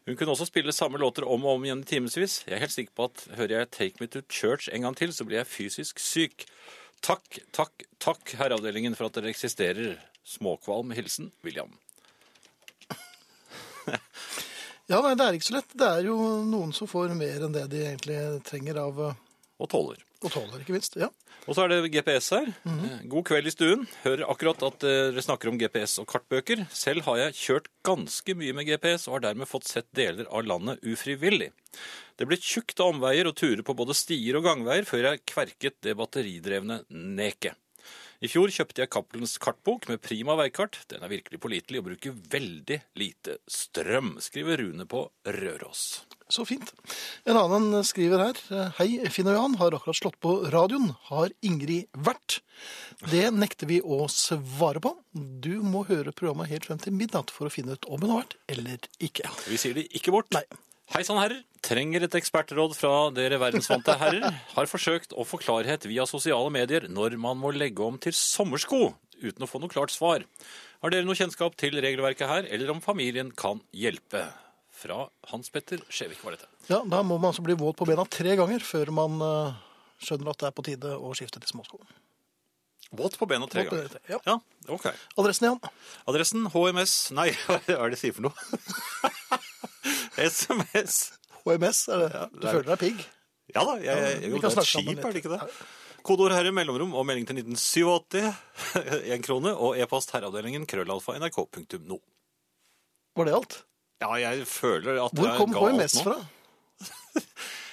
Hun kunne også spille samme låter om og om igjen i timevis. Jeg er helt sikker på at hører jeg 'Take Me to Church' en gang til, så blir jeg fysisk syk. Takk, takk, takk, herreavdelingen, for at dere eksisterer. Småkvalm. Hilsen William.
Ja, nei, det er ikke så lett. Det er jo noen som får mer enn det de egentlig trenger av eh,
Og tåler.
og tåler, ikke minst. Ja.
Og så er det GPS her. Eh, God kveld i stuen. Hører akkurat at eh, dere snakker om GPS og kartbøker. Selv har jeg kjørt ganske mye med GPS og har dermed fått sett deler av landet ufrivillig. Det ble tjukt av omveier og turer på både stier og gangveier før jeg kverket det batteridrevne neket. I fjor kjøpte jeg Cappelens kartbok med prima veikart. Den er virkelig pålitelig og bruker veldig lite strøm, skriver Rune på Røros.
Så fint. En annen eh, skriver her. Hei, Finn og Johan har akkurat slått på radioen. Har Ingrid vært? Det nekter vi å svare på. Du må høre programmet helt frem til midnatt for å finne ut om hun har vært eller ikke.
Vi sier de ikke bort.
Nei.
Hei sann, herrer. Trenger et ekspertråd fra dere verdensvante herrer. Har forsøkt å få klarhet via sosiale medier når man må legge om til sommersko, uten å få noe klart svar. Har dere noe kjennskap til regelverket her, eller om familien kan hjelpe? Fra Hans Petter Skjevik var dette.
Ja, Da må man altså bli våt på bena tre ganger før man eh, skjønner at det er på tide å skifte til småsko.
Våt på bena tre
Våt på bena
ganger.
tre, ja.
ja, ok.
Adressen igjen.
Adressen HMS Nei, hva er det jeg sier for noe? SMS.
HMS. Er det? Du
det er-
føler deg pigg?
Ja da, jeg, jeg,
vi kan
jo, det er et
snakke sammen
skip,
litt.
er det ikke det? Kodeord herre, mellomrom og melding til 1987, én krone, og e-post herreavdelingen krøllalfa nrk.no.
Var det alt?
Ja, jeg føler at
Hvor
jeg
kom
ga alt
HMS
nå.
fra?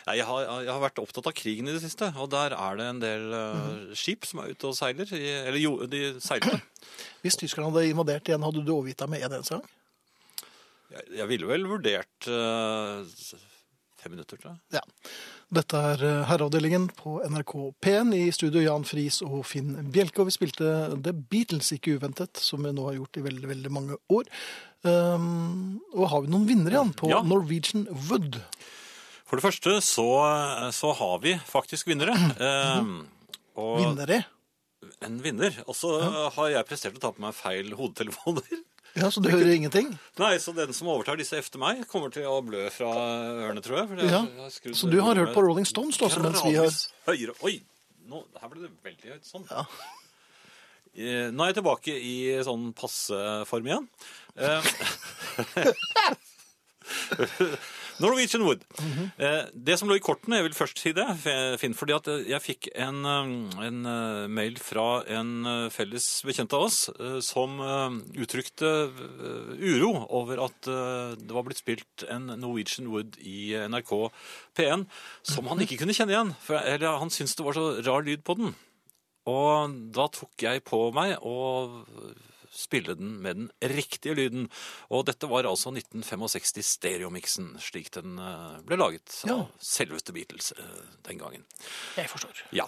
Nei, jeg, har, jeg har vært opptatt av krigen i det siste, og der er det en del
Mhm.
eh, skip som er ute og seiler. i- Eller jo, de seiler.
Hvis tyskerne hadde invadert igjen, hadde du overgitt deg med en eneste gang?
Jeg, jeg ville vel vurdert eh, s- fem minutter, tror jeg.
Ja. Dette er eh, herreavdelingen på NRK P1 i studio Jan Friis og Finn Bjelke. Og vi spilte The Beatles, ikke uventet, som vi nå har gjort i veldig, veldig mange år. Um, og har vi noen vinnere igjen på
Ja.
Norwegian Wood?
For det første så, så har vi faktisk vinnere. Eh, og
Mhm. Vinnere?
en vinner. Og så har jeg prestert å ta på meg feil hodetelefoner.
Ja, Så du hører ingenting?
Nei, så den som overtar disse efter meg, kommer til å blø fra ørene, tror jeg. fordi jeg
Ja.
har skrudd
Så du har hørt på
volumet
Rolling Stones, da, så mens vi har
gradvis Høyere. Oi! Nå, her ble det veldig høyt. Sånn.
Ja.
Eh, Nå er jeg tilbake i sånn passeform igjen. Eh, Norwegian Wood. Eh, Det som lå i kortene, jeg vil først si det, F- Finn, fordi at eh, jeg fikk en, eh, en eh, mail fra en eh, felles bekjent av oss eh, som eh, uttrykte eh, uro over at eh, det var blitt spilt en Norwegian Wood i eh, NRK P1 som han ikke kunne kjenne igjen. For, eller han syntes det var så rar lyd på den. Og da tok jeg på meg å spille den med den riktige lyden. Og dette var altså 1965 stereomiksen, slik den eh, ble laget
Ja.
av selveste Beatles eh, den gangen.
Jeg forstår.
Ja.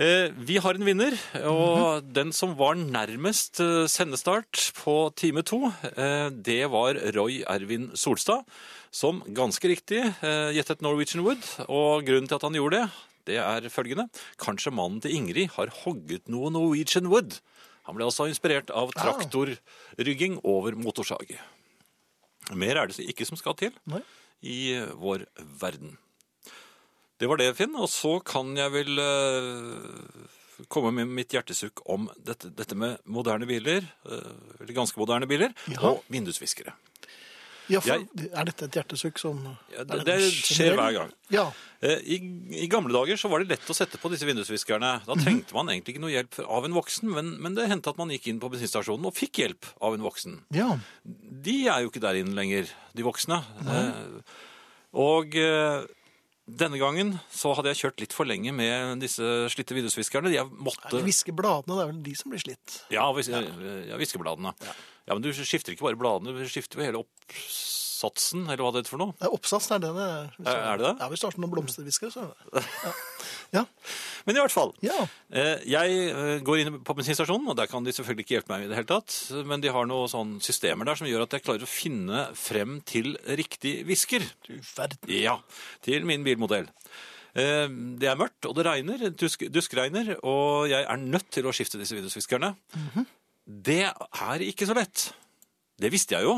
Eh, Vi har en vinner, og den som var nærmest eh, sendestart på time to, eh, det var Roy Ervin Solstad, som ganske riktig eh, gjettet Norwegian Wood. Og grunnen til at han gjorde det, det er følgende. Kanskje mannen til Ingrid har hogget noe Norwegian Wood. Han ble altså inspirert av traktorrygging over motorsag. Mer er det ikke som skal til
Nei.
i eh, vår verden. Det var det, Finn. Og så kan jeg vel eh, komme med mitt hjertesukk om dette, dette med moderne biler, eh, eller ganske moderne biler,
Ja.
og vindusviskere.
Ja, for,
Jeg-
er dette et hjertesukk som
Ja,
er
det, det skjer
generell?
hver gang.
Ja.
Eh, I, I gamle dager så var det lett å sette på disse vindusviskerne. Da trengte man egentlig ikke noe hjelp av en voksen, men, men det hendte at man gikk inn på bensinstasjonen og fikk hjelp av en voksen.
ja.
de er jo ikke der inne lenger, de voksne. Eh, og eh, denne gangen så hadde jeg kjørt litt for lenge med disse slitte vindusviskerne. Jeg
Er
måtte
det Viskebladene, det er vel de som blir slitt.
Ja, vis, eh, ja viskebladene. Ja. men du skifter ikke bare bladene, du skifter jo hele oppsatsen, eller hva det heter for noe.
Det er oppsatsen, er det det? hvis-
Er- er det det?
Ja, hvis du har sånne blomsterviskere, så er det det. Ja.
Men i hvert fall.
ja.
Eh, Jeg eh, går inn på bensinstasjonen, og der kan de selvfølgelig ikke hjelpe meg i det hele tatt, men de har noen sånne systemer der som gjør at jeg klarer å finne frem til riktig visker.
Du verden.
Ja, til min bilmodell. Eh, Det er mørkt, og det regner, dusk, duskregner, og jeg er nødt til å skifte disse vindusviskerne. Det er ikke så lett. Det visste jeg jo,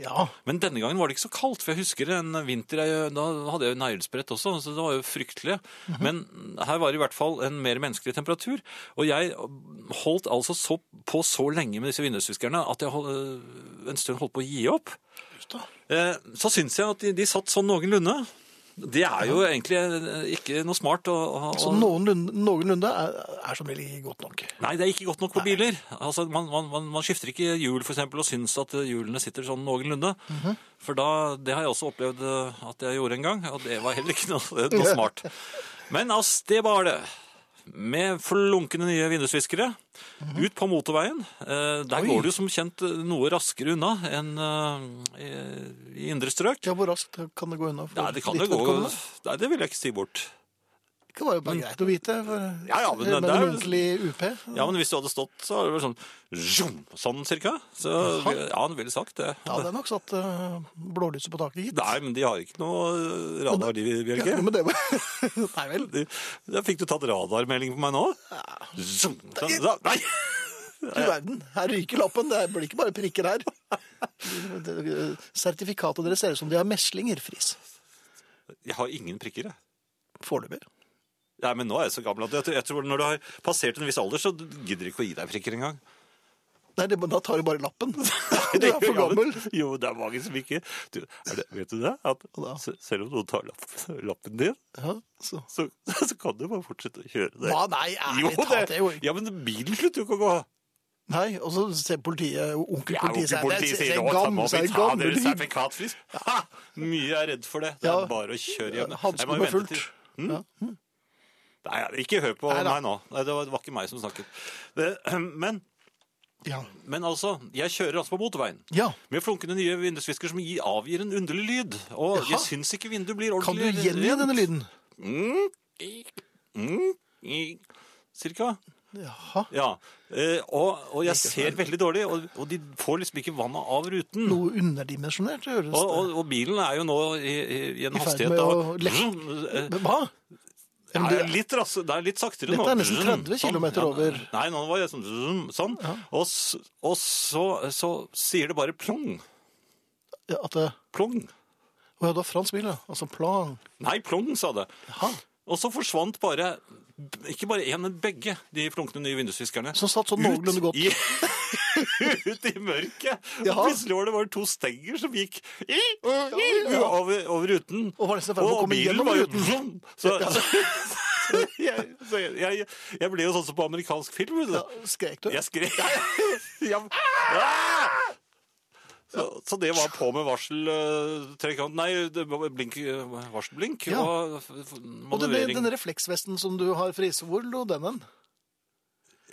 Ja.
men denne gangen var det ikke så kaldt, for jeg husker en vinter, jeg, da hadde jeg jo neglesprett også, så det var jo fryktelig.
Mhm.
Men her var det i hvert fall en mer menneskelig temperatur, og jeg holdt altså så, på så lenge med disse vindusviskerne at jeg hold, en stund holdt på å gi opp.
Just da.
Eh, Så syns jeg at de, de satt sånn noenlunde. Det er jo egentlig eh, ikke noe smart å, å
Så
å-
noenlunde, noenlunde er, er som regel ikke godt nok.
Nei, det er ikke godt nok på biler. Altså, man, man, man, man skifter ikke hjul for eksempel, og syns at eh, hjulene sitter sånn noenlunde. For da, det har jeg også opplevd eh, at jeg gjorde en gang, og det var heller ikke noe, noe smart. Men ass, det var det. Med flunkende nye vindusviskere ut på motorveien. Eh, Der
Oi.
går det jo som kjent eh, noe raskere unna enn eh, i, i indre strøk.
Ja, hvor raskt kan det gå unna? for
Nei, det kan
ditt
jo gå
vedkommende?
Nei, det vil jeg ikke si bort.
Det var jo bare greit å vite. For,
Mm. Ja, ja, men det-
med
det er-
en ordentlig UP.
Ja, men hvis du hadde stått, så hadde det vært sånn zoom, Sånn cirka. Så
Jaha.
ja, han ville sagt det.
Ja, det er nok satt uh, blålyset på taket hit.
Nei, men de har ikke noe radar, de, Bjørge.
Ja, men det var... Nei vel.
De- Da fikk du tatt radarmelding på meg nå. Zoom, sånn, da, nei!
Du verden, her ryker lappen. Det blir ikke bare prikker her. Det- Sertifikatet deres ser ut som de har meslinger, Friis.
Jeg har ingen prikker, jeg.
Foreløpig.
Nei, men nå er jeg så gammel at jeg tror, jeg tror når du har passert en viss alder, så gidder de ikke å gi deg prikker engang.
Nei, det, da tar du bare lappen. Du er for
Ja, men-
gammel.
Jo, det er mange som ikke du, er det, Vet du det? At
da?
se- selv om noen tar lappen, lappen din,
Ja, så.
så, så kan du bare fortsette å kjøre det.
Hva? Nei,
Jo,
ærlig
det,
talt. Det er jo...
ja, men bilen slutter jo ikke å gå.
Nei, og så ser politiet, onkel
Ja,
politiet,
onkel politiet sier
en
nå ta- må
gammel,
vi
en
ta
gammel
deres
hygg.
sertifikatfrist. Ha! Mye er redd for det. Det
Ja.
er bare å kjøre hjem. Jeg må
Hanskene
jo
med
vente
fullt.
til- Hm? Nei, ikke hør på
Nei da.
meg nå. Nei, Det var, det var ikke meg som snakket. Det, men,
Ja.
men altså, jeg kjører altså på motorveien.
ja.
Med flunkende nye vindusvisker som gi- avgir en underlig lyd. Og
Jaha.
jeg syns ikke vinduet blir
Kan du
ordentlig
gjengi
rent.
denne lyden?
Mm, i- mm, i- Cirka.
Jaha.
Ja, eh, og, og jeg ser veldig dårlig, og, og de får liksom ikke vannet av ruten.
Noe underdimensjonert høres
Og,
det.
og, og bilen er jo nå i, i, i en
I ferd
hastighet
med
av
å lekke. Men Hva? Eller
Det er
det-
litt, rass, det er litt saktere nå.
Dette er nesten 30
Sånn.
kilometer
Ja,
over.
Nei, nå var det sånn. sånn. Og, s- og så, så sier det bare plong.
Ja, at det,
Plong.
å ja, det var fransk bil, ja. Altså plan.
Nei, plong, sa det.
Jaha.
Og så forsvant bare ikke bare én, men begge de flunkne nye vindusviskerne.
Som satt sånn noenlunde godt.
I, ut i mørket. Og
Jaha.
plutselig var det bare to stenger som gikk i, og i, over, over ruten.
Og var nesten i ferd med å komme
bilen
gjennom
var jo
ruten.
vroom. Så, så, jeg, så jeg, jeg, jeg ble jo sånn som på amerikansk film. vet du.
Ja, skrek du?
Jeg skrek. Ja. Ah! Så, så det var på med varsel, eh, trekant, nei, det var blink, eh, varselblink
Ja.
og f- f-
Og den,
manøvrering.
den refleksvesten som du har fra Ise, hvor lå den hen?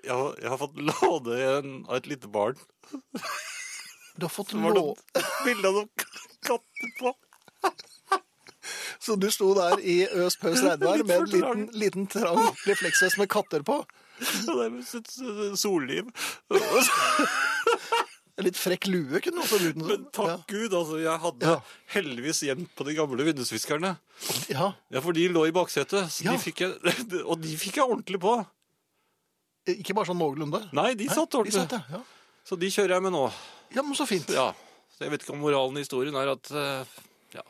Jeg, har, jeg har fått låne en av et lite barn.
Du har fått
Det var
lå...
noen bilder av noen katter på.
Så du sto der i øs pøs regnvær
Litt
med en
for trang.
liten, liten trang refleksvest med katter på?
Det der med sitt eh, solliv.
En litt frekk lue kunne du også brukt den
Men takk Gud, altså, jeg hadde
Ja.
heldigvis gjemt på de gamle vindusviskerne.
Ja. ja.
Ja, for de lå i baksetet, så
Ja.
de fikk jeg, og de fikk jeg ordentlig på.
Ikke bare sånn noenlunde.
Nei, de satt
De
ordentlig.
satt, ja. ja.
Så de kjører jeg med nå.
Ja, men så fint.
Ja, så jeg vet ikke om moralen i historien er at, eh, ja,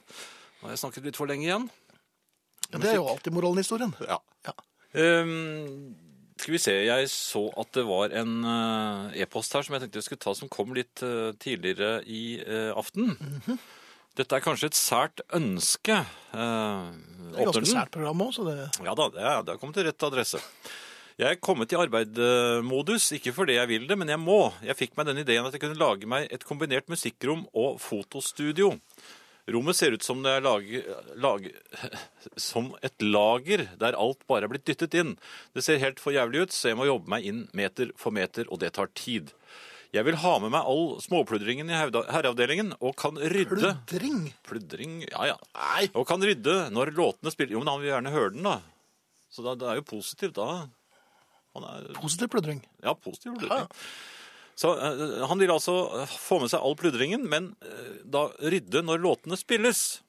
nå har jeg snakket litt for lenge igjen.
Ja, det er jo alltid moralen i historien.
Ja.
Ja.
Ehm, skal vi se, jeg så at det var en eh, e-post her som jeg tenkte jeg skulle ta, som kom litt eh, tidligere i eh, aften.
Mhm.
Dette er kanskje et sært ønske. eh,
Det er ganske sært program òg, så det
Ja da, det er, det er kommet til rett adresse. Jeg er kommet i arbeidmodus, ikke fordi jeg vil det, men jeg må. Jeg fikk meg den ideen at jeg kunne lage meg et kombinert musikkrom og fotostudio. Rommet ser ut som, det er lage, lage, som et lager der alt bare er blitt dyttet inn. Det ser helt for jævlig ut, så jeg må jobbe meg inn meter for meter, og det tar tid. Jeg vil ha med meg all småpludringen i hevda- herreavdelingen og kan rydde
Pludring!
Pludring, ja ja.
Nei.
Og kan rydde når låtene spiller. Jo, men han vil gjerne høre den, da. Så da, det er jo positivt, da. Han er,
Positiv pludring.
ja, positiv pludring. Så eh, han vil altså eh, få med seg all pludringen, men eh, da rydde når låtene spilles.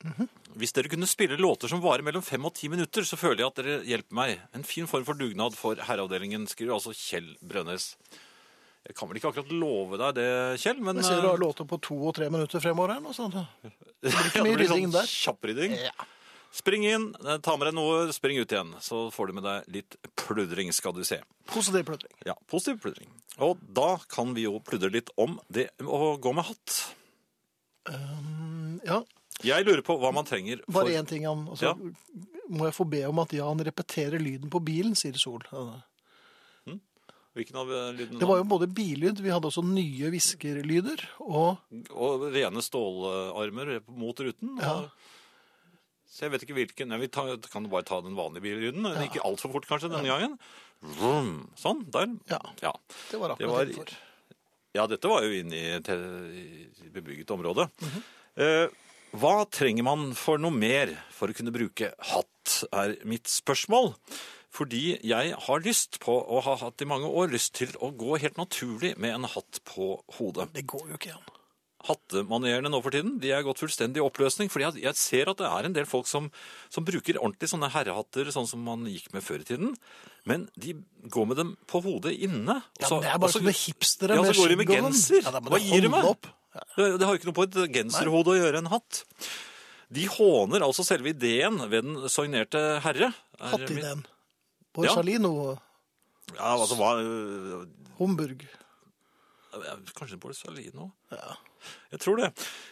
Mhm.
Hvis dere kunne spille låter som varer mellom fem og ti minutter, så føler jeg at dere hjelper meg. En fin form for dugnad for herreavdelingen, skriver altså Kjell Brønnes. Jeg kan vel ikke akkurat love deg det, Kjell, men
Jeg ser du
eh,
har låter på to og tre minutter fremover her nå. sånn.
Ja,
mye
det blir
rydding
sånn
der.
Kjapprydding. Spring inn, eh, ta med deg noe, spring ut igjen. Så får du med deg litt pludring, skal du se.
Positiv pludring.
Ja, positiv pludring. Og da kan vi jo pludre litt om det å gå med hatt.
Ja,
Jeg lurer på hva man trenger for
Bare én ting. Han, og så må jeg få be om at Jan repeterer lyden på bilen, sier Sol. Det
Hvilken av eh, lydene?
var jo både billyd, vi hadde også nye hviskerlyder, og
Og rene stålarmer mot ruten.
Ja.
Og... Så jeg vet ikke hvilken. Nei, vi tar, kan du bare ta den vanlige billyden. Ja. Ikke altfor fort, kanskje, denne gangen. Vroom. Sånn, der.
Ja.
ja.
det var
Det
akkurat
var-
innenfor.
Ja, dette var jo inne i et eh, bebygget område.
Mhm.
Eh, hva trenger man for noe mer for å kunne bruke hatt, er mitt spørsmål. Fordi jeg har lyst på, og har hatt i mange år, lyst til å gå helt naturlig med en hatt på hodet.
Det går jo ikke, Jan.
Hattemanerene nå for tiden de er gått fullstendig i oppløsning. fordi jeg, jeg ser at det er en del folk som, som bruker ordentlig sånne herrehatter, sånn som man gikk med før i tiden. Men de går med dem på hodet inne. og
Ja,
så-
men det er
og
bare
så-
sånne hipstere
ja, så går de med
skygg og sånn.
genser.
Ja, da må
Hva gir de
holde
meg?
opp.
Det det har jo ikke noe på et genserhode å gjøre, en hatt. De håner altså selve ideen ved den soignerte herre. er mitt-
Hattideen.
Ja.
Borsalino,
Ja, altså, hva,
Homburg.
Ja, Kanskje en Borsalino?
Ja.
Jeg tror det.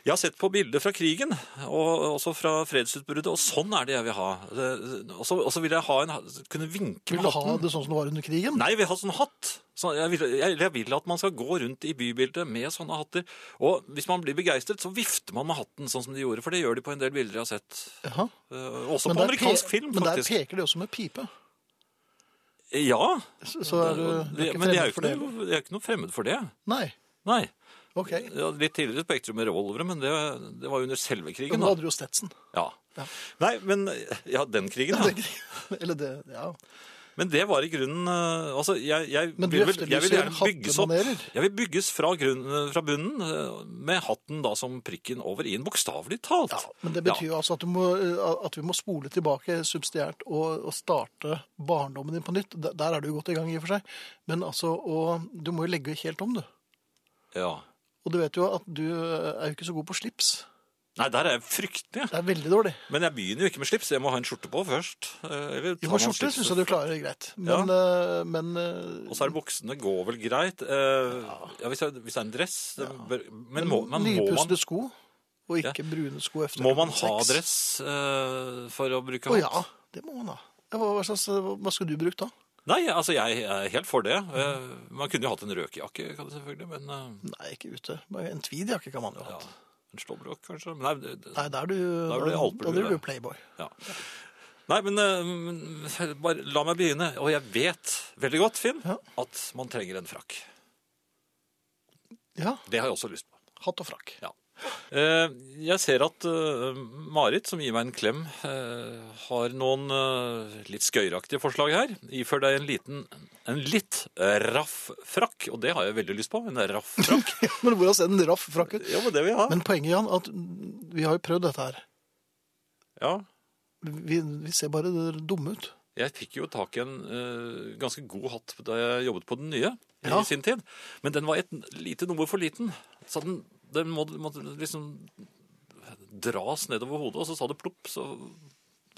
Jeg har sett på bilder fra krigen, og også fra fredsutbruddet, og sånn er det jeg vil ha. Det- Og så og så vil jeg ha en, ha- kunne vinke
Vil
med
du ha
hatten.
det sånn som det var under krigen?
Nei, jeg vil ha sånn hatt. Så jeg, vil, jeg, jeg vil at man skal gå rundt i bybildet med sånne hatter. Og hvis man blir begeistret, så vifter man med hatten, sånn som de gjorde. For det gjør de på en del bilder jeg har sett.
Jaha.
Eh, også
Men
på
der
amerikansk
pe-
film,
Men der
faktisk.
peker de også med pipe.
ja,
Så, så er du, du er
det,
ikke
men jeg
fremmed
er jo
for det?
ikke, noe- jeg er ikke noe fremmed for det.
Nei.
Nei.
Ok.
Ja, litt tidligere Spektrum med revolvere, men det, det var jo under selve krigen.
Men
da.
da hadde du jo Stetson.
Ja. Nei, men ja, den krigen,
Ja,
ja.
det- Eller det, ja.
Men det var i grunnen eh, Altså, jeg, jeg,
Men du
vil, vel- jeg
efterlyser
vil gjerne bygges opp
hattemanerer.
Jeg vil bygges fra, grunnen, fra bunnen, eh, med hatten da som prikken over i-en, bokstavelig talt.
Ja, men det betyr
Ja.
jo altså at, du må, eh, at vi må spole tilbake subsidiært og, og starte barndommen din på nytt. Der- Der er du godt i gang i og for seg. Men altså, og, du må jo legge helt om, du.
Ja.
Og du vet jo at du eh, er jo ikke så god på slips.
Nei, der er jeg fryktelig.
Det er veldig dårlig.
Men jeg begynner jo ikke med slips, jeg må ha en skjorte på først. eh, Eller
Jo,
tar
men
man
skjorte
slipset
syns jeg du klarer greit. Men, eh, men eh,
Og så er det buksene, går vel greit. Eh, ja, hvis, det er- hvis det er en dress det bør, Men, må, men må, man,
nypustede sko, og ikke brune sko efter
må man ha
klokken seks.
dress eh, for å
Å
bruke hatt?
ja, det må man ha. Ja, Hva, hva, slags, eh, hva skulle du brukt da?
Nei, altså jeg er helt for det. Eh, man kunne jo hatt en røkejakke, kan det selvfølgelig, men eh,
Nei, ikke ute. Bare En tweedjakke kan man jo ha.
ja, En slåbrok, kanskje? Men Nei, det- det-
Nei, da er du,
Da blir det alpelue,
da blir
det.
du playboy.
ja. Nei, men eh, men, bare la meg begynne. Og jeg vet veldig godt, Finn,
Ja.
at man trenger en frakk.
Ja,
Det har jeg også lyst på.
hatt og frakk.
Ja. Eh, Jeg ser at eh, Marit, som gir meg en klem, eh, har noen eh, litt skøyeraktige forslag her. Ifør deg en liten, en litt raff frakk, og det har jeg veldig lyst på. En raff frakk.
Men hvordan ser den raff frakk ut?
ja, men det vil jeg ha.
Men poenget, Jan, at vi har jo prøvd dette her.
Ja.
Vi, vi ser bare dumme ut.
Jeg fikk jo tak i en eh, ganske god hatt da jeg jobbet på den nye
Ja.
i sin tid. Men den var et lite nummer for liten. Så den, den måtte, måtte liksom dras nedover hodet, og så sa det plopp, så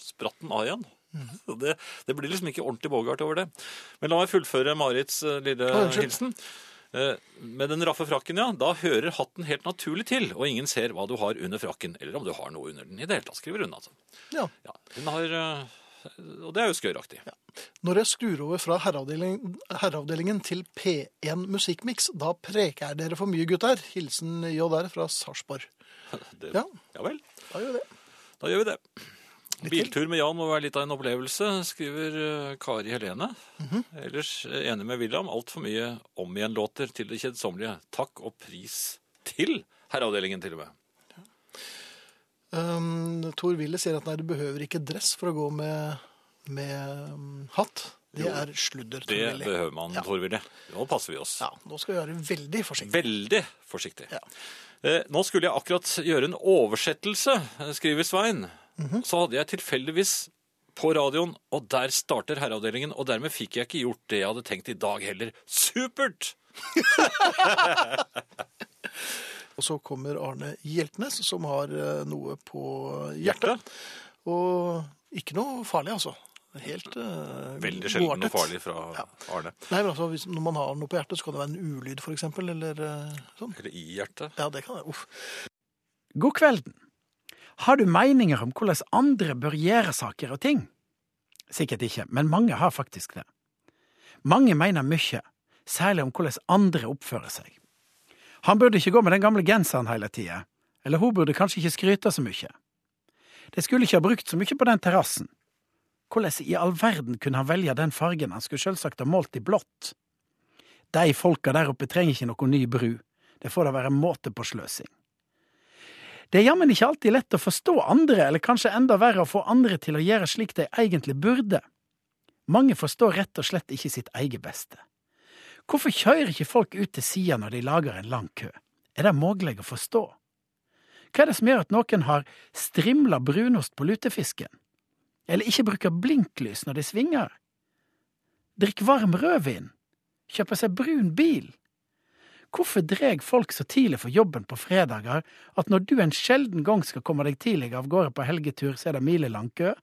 spratt den av igjen.
Mhm.
Så Det, det blir liksom ikke ordentlig Bogart over det. Men la meg fullføre Marits eh, lille
Å, unnskyld.
hilsen. Eh, Med den raffe frakken, ja, da hører hatten helt naturlig til, og ingen ser hva du har under frakken, eller om du har noe under den i det hele tatt. Skriver hun, altså.
Ja.
Ja, hun har, eh, og det er jo skøyeraktig.
Når jeg skrur over fra herreavdelingen, herreavdelingen til P1 Musikkmiks, da preker jeg dere for mye, gutter. Hilsen JR fra Sarpsborg.
Det, ja.
Ja.
vel,
Da gjør vi det.
da gjør vi det.
Litt til.
Biltur med Jan må være litt av en opplevelse, skriver eh, Kari Helene.
Mhm.
Ellers eh, enig med William. Altfor mye om igjen-låter til det kjedsommelige. Takk og pris til herreavdelingen, til og med.
Um, Tor Wille sier at nei, du behøver ikke dress for å gå med, med um, hatt. Det
Jo,
er sludder. Tor
Det
Wille.
behøver man,
Ja.
Tor Willy. Nå passer vi oss.
Ja, nå skal vi være veldig forsiktige.
Veldig forsiktig.
Ja.
Eh, Nå skulle jeg akkurat gjøre en oversettelse, eh, skriver Svein.
Mhm.
Så hadde jeg tilfeldigvis på radioen, og der starter herreavdelingen, og dermed fikk jeg ikke gjort det jeg hadde tenkt i dag heller. Supert!
Og så kommer Arne Hjeltnes, som har eh, noe på hjertet. Og ikke noe farlig, altså. Helt eh,
Veldig sjelden og
godartet.
farlig fra Arne.
Nei, men altså, hvis, Når man har noe på hjertet, så kan det være en ulyd, f.eks. Eller eh, sånn.
Eller i hjertet.
Ja, det kan være. Uff.
God kvelden. Har du meninger om hvordan andre bør gjøre saker og ting? Sikkert ikke, men mange har faktisk det. Mange mener mye, særlig om hvordan andre oppfører seg. Han burde ikke gå med den gamle genseren hele tida, eller hun burde kanskje ikke skryte så mye. De skulle ikke ha brukt så mye på den terrassen. Hvordan i all verden kunne han velge den fargen han skulle selvsagt ha målt i blått? De folka der oppe trenger ikke noen ny bru, det får da være måte på sløsing. Det er jammen ikke alltid lett å forstå andre, eller kanskje enda verre å få andre til å gjøre slik de egentlig burde. Mange forstår rett og slett ikke sitt eget beste. Hvorfor kjører ikke folk ut til sida når de lager en lang kø? Er det mulig å forstå? Hva er det som gjør at noen har strimla brunost på lutefisken? Eller ikke bruker blinklys når de svinger? Drikk varm rødvin? Kjøper seg brun bil? Hvorfor dreg folk så tidlig for jobben på fredager at når du en sjelden gang skal komme deg tidlig av gårde på helgetur, så er det milelang kø?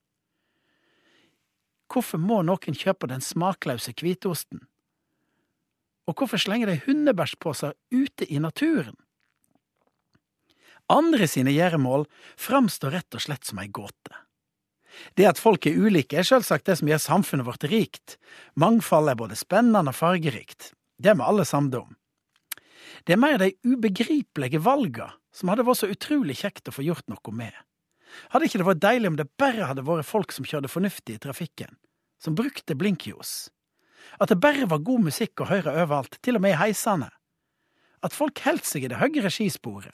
Hvorfor må noen kjøpe den smakløse hvitosten? Og hvorfor slenger de hundebæsjposer ute i naturen? Andre sine gjøremål framstår rett og slett som ei gåte. Det at folk er ulike, er selvsagt det som gjør samfunnet vårt rikt. Mangfold er både spennende og fargerikt. Det er vi alle samde om. Det er mer de ubegripelige valga som hadde vært så utrolig kjekt å få gjort noe med. Hadde ikke det vært deilig om det bare hadde vært folk som kjørte fornuftig i trafikken, som brukte blinklys? At det bare var god musikk å høre overalt, til og med i heisene? At folk holdt seg i det høyre skisporet?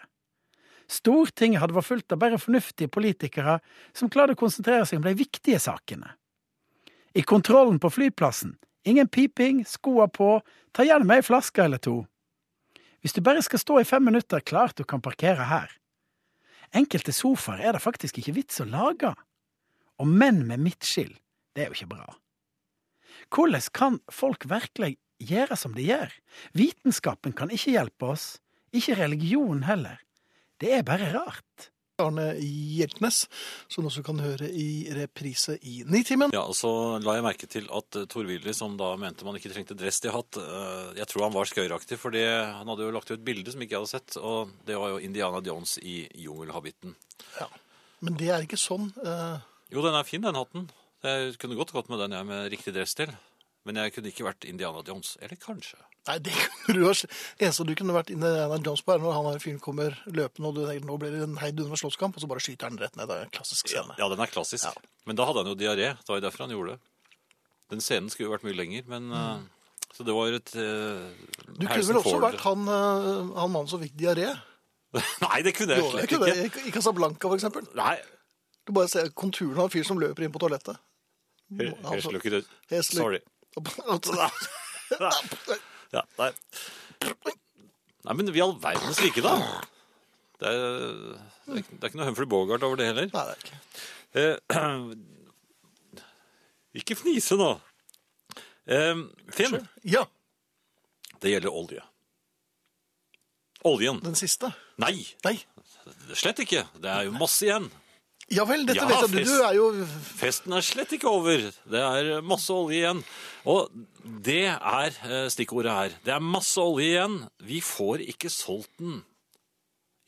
Stortinget hadde vært fullt av bare fornuftige politikere som klarte å konsentrere seg om de viktige sakene. I kontrollen på flyplassen. Ingen piping, skoa på, ta gjerne med ei flaske eller to. Hvis du bare skal stå i fem minutter, klart du kan parkere her. Enkelte sofaer er det faktisk ikke vits å lage. Og menn med midtskill, det er jo ikke bra. Hvordan kan folk virkelig gjøre som de gjør? Vitenskapen kan ikke hjelpe oss, ikke religion heller. Det er bare rart.
Arne Hjeltnes, som du også kan høre i reprise i Nitimen.
Ja, og så la jeg merke til at eh, Thor Willy, som da mente man ikke trengte dress til hatt, eh, jeg tror han var skøyeraktig, fordi han hadde jo lagt ut bilde som ikke jeg hadde sett, og det var jo Indiana Jones i jungelhabitten.
Men det er ikke sånn. eh,
Jo, den er fin, den hatten. Jeg kunne godt gått med den jeg med riktig dress til. Men jeg kunne ikke vært Indiana Jones. Eller kanskje.
Nei, det kunne du ha sl- eneste du kunne vært Indiana Jones på, er når han her fyren kommer løpende, og du tenker nå blir det en heidundrende slåsskamp, og så bare skyter han rett ned. Det er en klassisk scene.
Ja, den er klassisk. Men da hadde han jo diaré. Det var jo derfor han gjorde det. Den scenen skulle jo vært mye lenger, men eh, Så det var jo et uh,
Du kunne vel også vært han, eh, han mannen som fikk diaré?
Nei, det kunne jeg
Jo, det
slett
kunne
ikke.
det. I- I Casablanca, for eksempel.
Nei,
Du bare ser konturen av en fyr som løper inn på toalettet.
hø-
Altså,
høres lukket ut.
Heslig.
Sorry. Ja, nei. nei, men vi all verdens like, da. Det er, det er ikke- det er ikke noe Humphrey Bogart over det heller.
Nei, det er ikke.
Eh, ikke fnise nå. Eh, Finn,
Ja,
det gjelder olje. Oljen.
den siste.
Nei,
Nei.
slett ikke. Det er jo masse igjen.
Ja vel, dette
Ja,
vet jeg. Du,
fest.
du er jo
Festen er slett ikke over. Det er masse olje igjen. Og det er eh, stikkordet her. Det er masse olje igjen. Vi får ikke solgt den.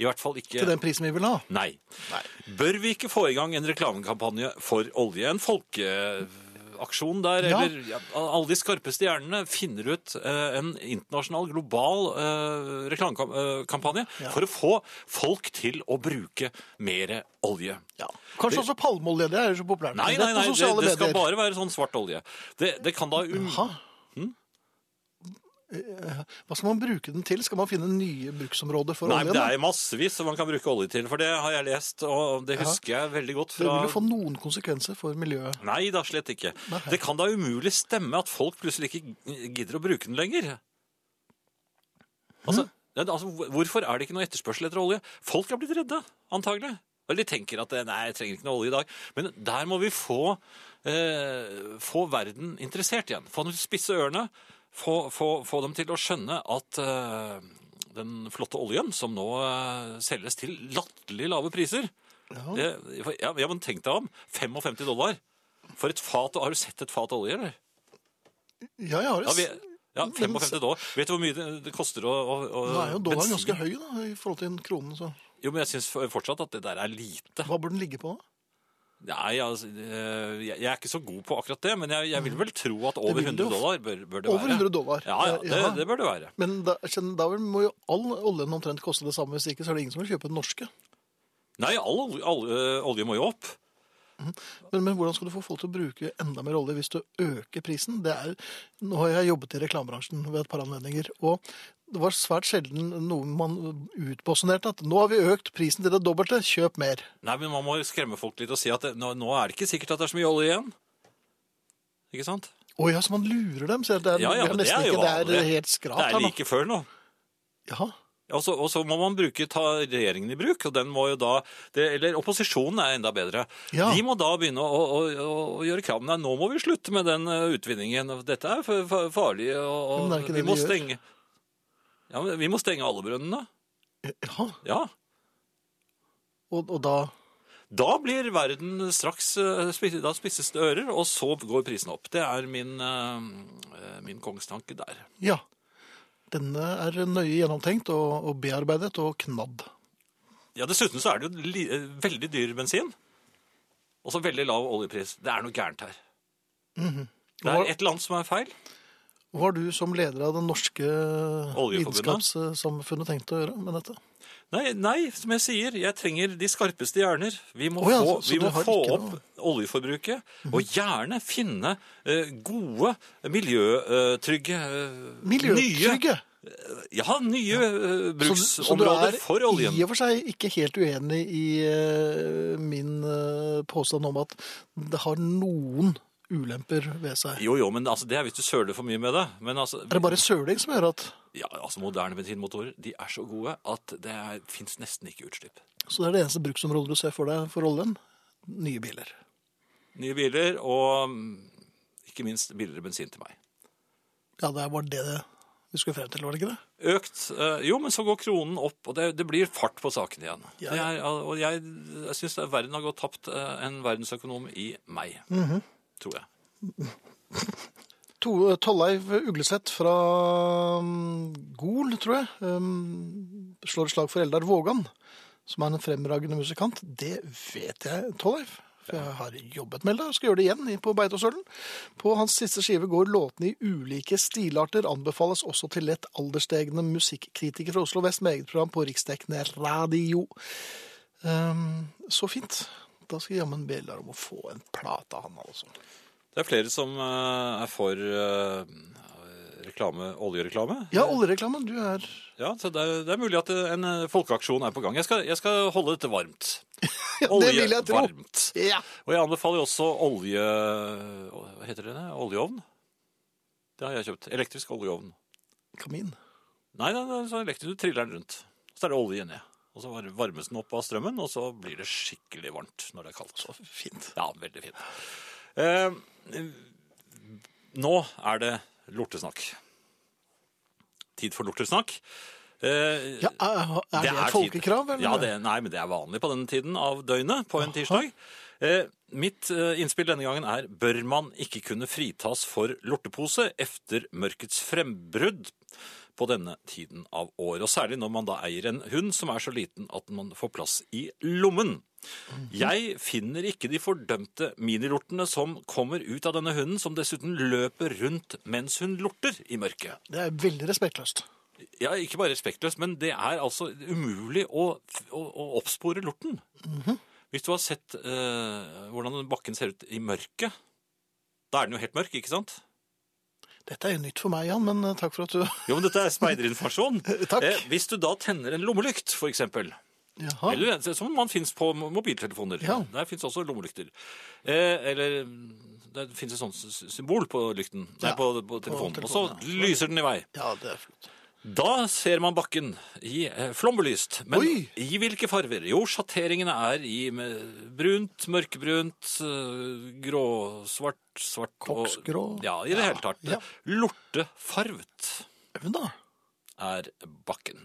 I hvert fall ikke
til den prisen vi vil ha.
Nei.
Nei.
Bør vi ikke få i gang en reklamekampanje for olje? En folkeaksjon der,
Ja.
eller ja, alle de skarpeste hjernene finner ut eh, en internasjonal, global eh, reklamekampanje for å få folk til å bruke mer olje.
Ja. Kanskje også palmeolje. Det er jo så populært.
Nei,
Det er
nei,
på
nei, det,
sosiale
det skal
medier.
bare være sånn svart olje. Det, det kan da um...
Jaha. Eh, Hva skal man bruke den til? Skal man finne nye bruksområder for
Nei, men
oljen?
det
da?
er massevis som man kan bruke olje til, for det har jeg lest, og det husker jeg veldig godt
Det
fra
vil jo få noen konsekvenser for miljøet.
Nei da, slett ikke.
Nei.
Det kan da umulig stemme at folk plutselig ikke gidder å bruke den lenger. Altså, ja, altså hvor- Hvorfor er det ikke noe etterspørsel etter olje? Folk er blitt redde, antagelig. Eller de tenker at eh, nei, jeg trenger ikke noe olje i dag. Men der må vi få, eh, få verden interessert igjen. Få dem til å spisse ørene. Få, få, få dem til å skjønne at eh, den flotte oljen som nå eh, selges til latterlig lave priser
Ja.
det, ja, ja, men tenk deg om. 55 dollar. For et fat, Har du sett et fat olje, eller?
Ja, jeg har
Ja,
det.
vi, ja 55 dollar. Vet du hvor mye det, det koster å, å, å
Nå er jo dollaren
øh, bensin-
ganske høy da, i forhold til kronen, så
Jo, men jeg syns fortsatt at det der er lite.
hva bør den ligge på da?
Nei, altså, eh, jeg, jeg er ikke så god på akkurat det, men jeg, jeg vil vel tro at over
vil du
100
jo f-
dollar bør, bør det
Over
være.
100 dollar.
Ja, ja, det,
Ja.
det bør det være.
Men da, kjenn- da vel må jo all oljen omtrent koste det samme, hvis ikke så er det ingen som vil kjøpe den norske.
Nei, all, olje- all eh, olje må jo opp.
Men, men hvordan skal du få folk til å bruke enda mer olje hvis du øker prisen? Det er, nå har jeg jobbet i reklamebransjen ved et par anledninger, og det var svært sjelden noe man utposisjonerte at nå har vi økt prisen til det dobbelte, kjøp mer.
Nei, men man må skremme folk litt og si at det, nå, nå er det ikke sikkert at det er så mye olje igjen. Ikke sant?
Å ja, så man lurer dem. Så det er,
Ja,
det
ja,
er
men det
nesten
er jo
ikke det er
vanlig.
helt
Det
skrap
er
her nå.
like før nå.
Ja,
Og så, og så må man bruke, ta regjeringen i bruk, og den må jo da det, Eller opposisjonen er enda bedre.
Ja.
De må da begynne å, å, å, å gjøre krav. Nei, nå må vi slutte med den eh, utvinningen. Dette er fa- fa- farlig. Og, og
Men det er ikke det
vi må
vi gjør.
stenge ja, men Vi må stenge alle brønnene.
ja.
Ja.
Og, og da...
Da blir verden straks eh, spi- Da spisses det ører, og så går prisen opp. Det er min, eh, min kongstanke der.
Ja. Denne er nøye gjennomtenkt og, og bearbeidet og knadd.
Ja, Dessuten så er det jo li, eh, veldig dyr bensin. Og så veldig lav oljepris. Det er noe gærent her. Det
Mhm. Hva-
er et eller annet som er feil.
Hva har du som leder av det norske
Oljeforbundet?
vitenskapssamfunnet tenkt å gjøre med dette?
Nei, nei, som jeg sier, jeg trenger de skarpeste hjerner. Vi må
Å ja,
få,
så- så
vi
du
må
har
få
ikke
opp
noe- Mhm.
oljeforbruket, og gjerne finne eh, gode, miljøtrygge eh,
Miljøtrygge!
nye- Ja, nye
Så, så du
eh, bruksområder
er
for oljen.
i og for seg ikke helt uenig i eh, min eh, påstand om at det har noen ulemper ved seg.
Jo, jo, men altså, det er hvis du søler for mye med det. Men altså,
Er det bare søling som gjør at
ja, altså moderne bensinmotorer de er så gode at det fins nesten ikke utslipp.
Så det er det eneste bruksområdet du ser for deg for oljen? Nye biler.
Nye biler og mm, ikke minst billigere bensin til meg.
Ja, det var det vi skulle frem til, var det ikke det?
Økt eh, Jo, men så går kronen opp, og det, det blir fart på saken igjen.
Ja.
Det er, al- og jeg, jeg syns verden har gått tapt eh, en verdensøkonom i meg.
Mhm.
Tror jeg.
To- Tolleiv eh, Ugleseth fra mm, Gol, tror jeg, um, slår et slag for Eldar Vågan, som er en fremragende musikant. Det vet jeg, Tolleiv. For jeg har jobbet med det, og skal gjøre det igjen i- på Beitostølen. På hans siste skive går låtene i ulike stilarter, anbefales også til lett alderstegne musikkritiker fra Oslo Vest, med eget program på riksdekkende radio. Um, så fint. Da skal jammen be Eldar om å få en plate, han altså.
Det er flere som eh, er for eh, reklame, oljereklame.
Ja, oljereklamen, du er
Ja, så det er, det er mulig at en eh, folkeaksjon er på gang. Jeg skal, jeg skal holde dette varmt.
Ja, det vil jeg tro.
Varmt.
Ja.
Og jeg anbefaler jo også olje... Hva heter det? Oljeovn? Det har jeg kjøpt. Elektrisk oljeovn.
Kamin.
Nei, nei, nei sånn elektrisk, du triller den rundt. Så er det olje ned. Og så var- varmes den opp av strømmen, og så blir det skikkelig varmt når det er kaldt.
Fint.
Ja, veldig fint. Eh, nå er det lortesnakk. Tid for lortesnakk. Eh,
Ja, er, er det, et
tid.
folkekrav? Eller?
Ja, det, nei, men det er vanlig på denne tiden av døgnet på en tirsdag. Eh, mitt eh, innspill denne gangen er bør man ikke kunne fritas for lortepose efter mørkets frembrudd på denne tiden av året. Og særlig når man da eier en hund som er så liten at man får plass i lommen.
Mhm.
Jeg finner ikke de fordømte minilortene som kommer ut av denne hunden, som dessuten løper rundt mens hun lorter i mørket.
Det er veldig respektløst.
Ja, ikke bare respektløst, men det er altså umulig å, å, å oppspore lorten.
Mhm.
Hvis du har sett eh, hvordan bakken ser ut i mørket, da er den jo helt mørk, ikke sant?
Dette er jo nytt for meg, Jan, men eh, takk for at du
Jo, men dette er speiderinformasjon. Eh,
Takk.
hvis du da tenner en lommelykt, for eksempel,
Jaha.
eller en som man finnes på mo- mobiltelefoner,
Ja.
der finnes også lommelykter, eh, eller mm, det finnes et sånt sy- symbol på lykten, nei,
Ja,
på, på telefonen, og så
telefonen,
lyser den i vei.
Ja, det er flott.
Da ser man bakken i eh, flombelyst. Men
Oi!
i hvilke farver? Jo, sjatteringene er i med brunt, mørkebrunt, eh, gråsvart, svart og-
Koksgrå.
Ja, i det
Ja,
hele tatt.
ja.
Lortefarvet
Men da,
er bakken.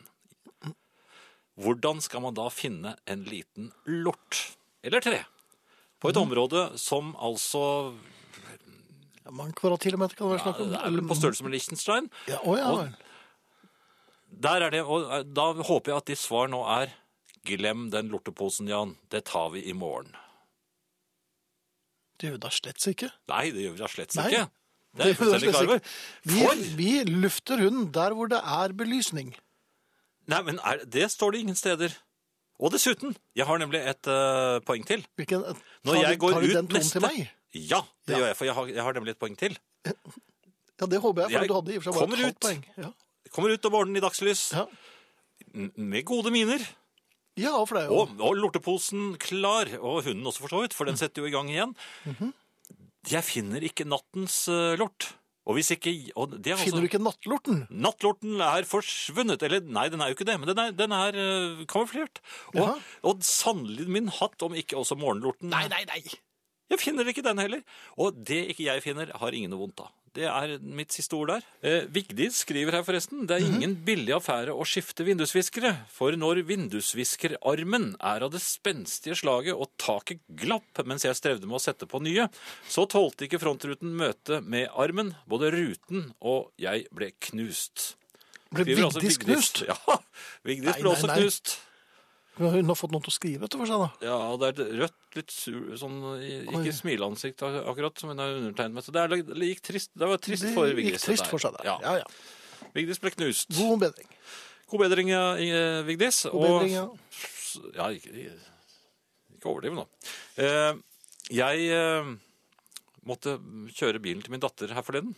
Hvordan skal man da finne en liten lort, eller tre, på et
Mm.
område som altså
ja, mange kvadratkilometer kan det være
ja,
snakk om. Mm.
det er vel på størrelse med Liechtenstein?
Ja, å ja,
Og-
vel.
Der er det, og eh, da håper jeg at ditt svar nå er Glem den lorteposen, Jan. Det tar vi i morgen.
Det gjør vi da slett ikke.
Nei, det gjør vi da slett
Nei.
ikke. Det er jeg
gjør vi da
fullstendig
slett
klar over.
Vi,
For
vi lufter hunden der hvor det er belysning.
Nei, men er, det står det ingen steder. Og dessuten, jeg har nemlig et eh, poeng til.
Hvilken,
Når
tar,
jeg
du-
går
tar du
ut
den tonen
neste-
til meg?
Ja,
Ja.
det gjør jeg, for jeg har, jeg har nemlig et poeng til.
Ja, det håper jeg, for
Jeg
du hadde i og for seg bare
kommer
et halvt
ut.
poeng. Ja.
Kommer ut om morgenen i dagslys
Ja.
m- med gode miner.
ja, for det er jo
Og, og lorteposen klar, og hunden også for så vidt, for den setter jo i gang igjen. Jeg finner ikke nattens eh, lort. Og hvis ikke og det er
Finner du
altså,
ikke nattlorten?
Nattlorten er forsvunnet. Eller nei, den er jo ikke det, men den er, den er eh, kamuflert. Og,
Jaha.
og sannelig min hatt, om ikke også morgenlorten.
nei, nei!
Jeg finner ikke den heller. Og det ikke jeg finner, har ingen noe vondt av. Det er mitt siste ord der. Mhm. Eh, Vigdis skriver her forresten det er ingen billig affære å skifte vindusviskere, for når vindusviskerarmen er av det spenstige slaget og taket glapp mens jeg strevde med å sette på nye, så tålte ikke frontruten møtet med armen. Både ruten og jeg ble knust.
Ble
Skriver altså
Vigdis knust?
Ja, Vigdis
Nei,
ble
nei,
også
nei.
knust.
Hun har fått noen til å skrive etter for seg, da.
Ja, og det er et rødt, litt sur, sånn, i-
Oi.
ikke smileansikt ak- akkurat, som hun har undertegnet med. Så det, er, lag- det gikk trist, det var trist
Det
for
gikk
Vigdis.
trist
dette her.
for seg der.
Ja.
Ja, ja.
Vigdis ble knust. God,
God bedring.
bedring, ja, i- eh, Vigdis.
God bedring, ja.
Og, ja, ikke, ikke overdriv nå. Eh, jeg eh, måtte kjøre bilen til min datter her forleden.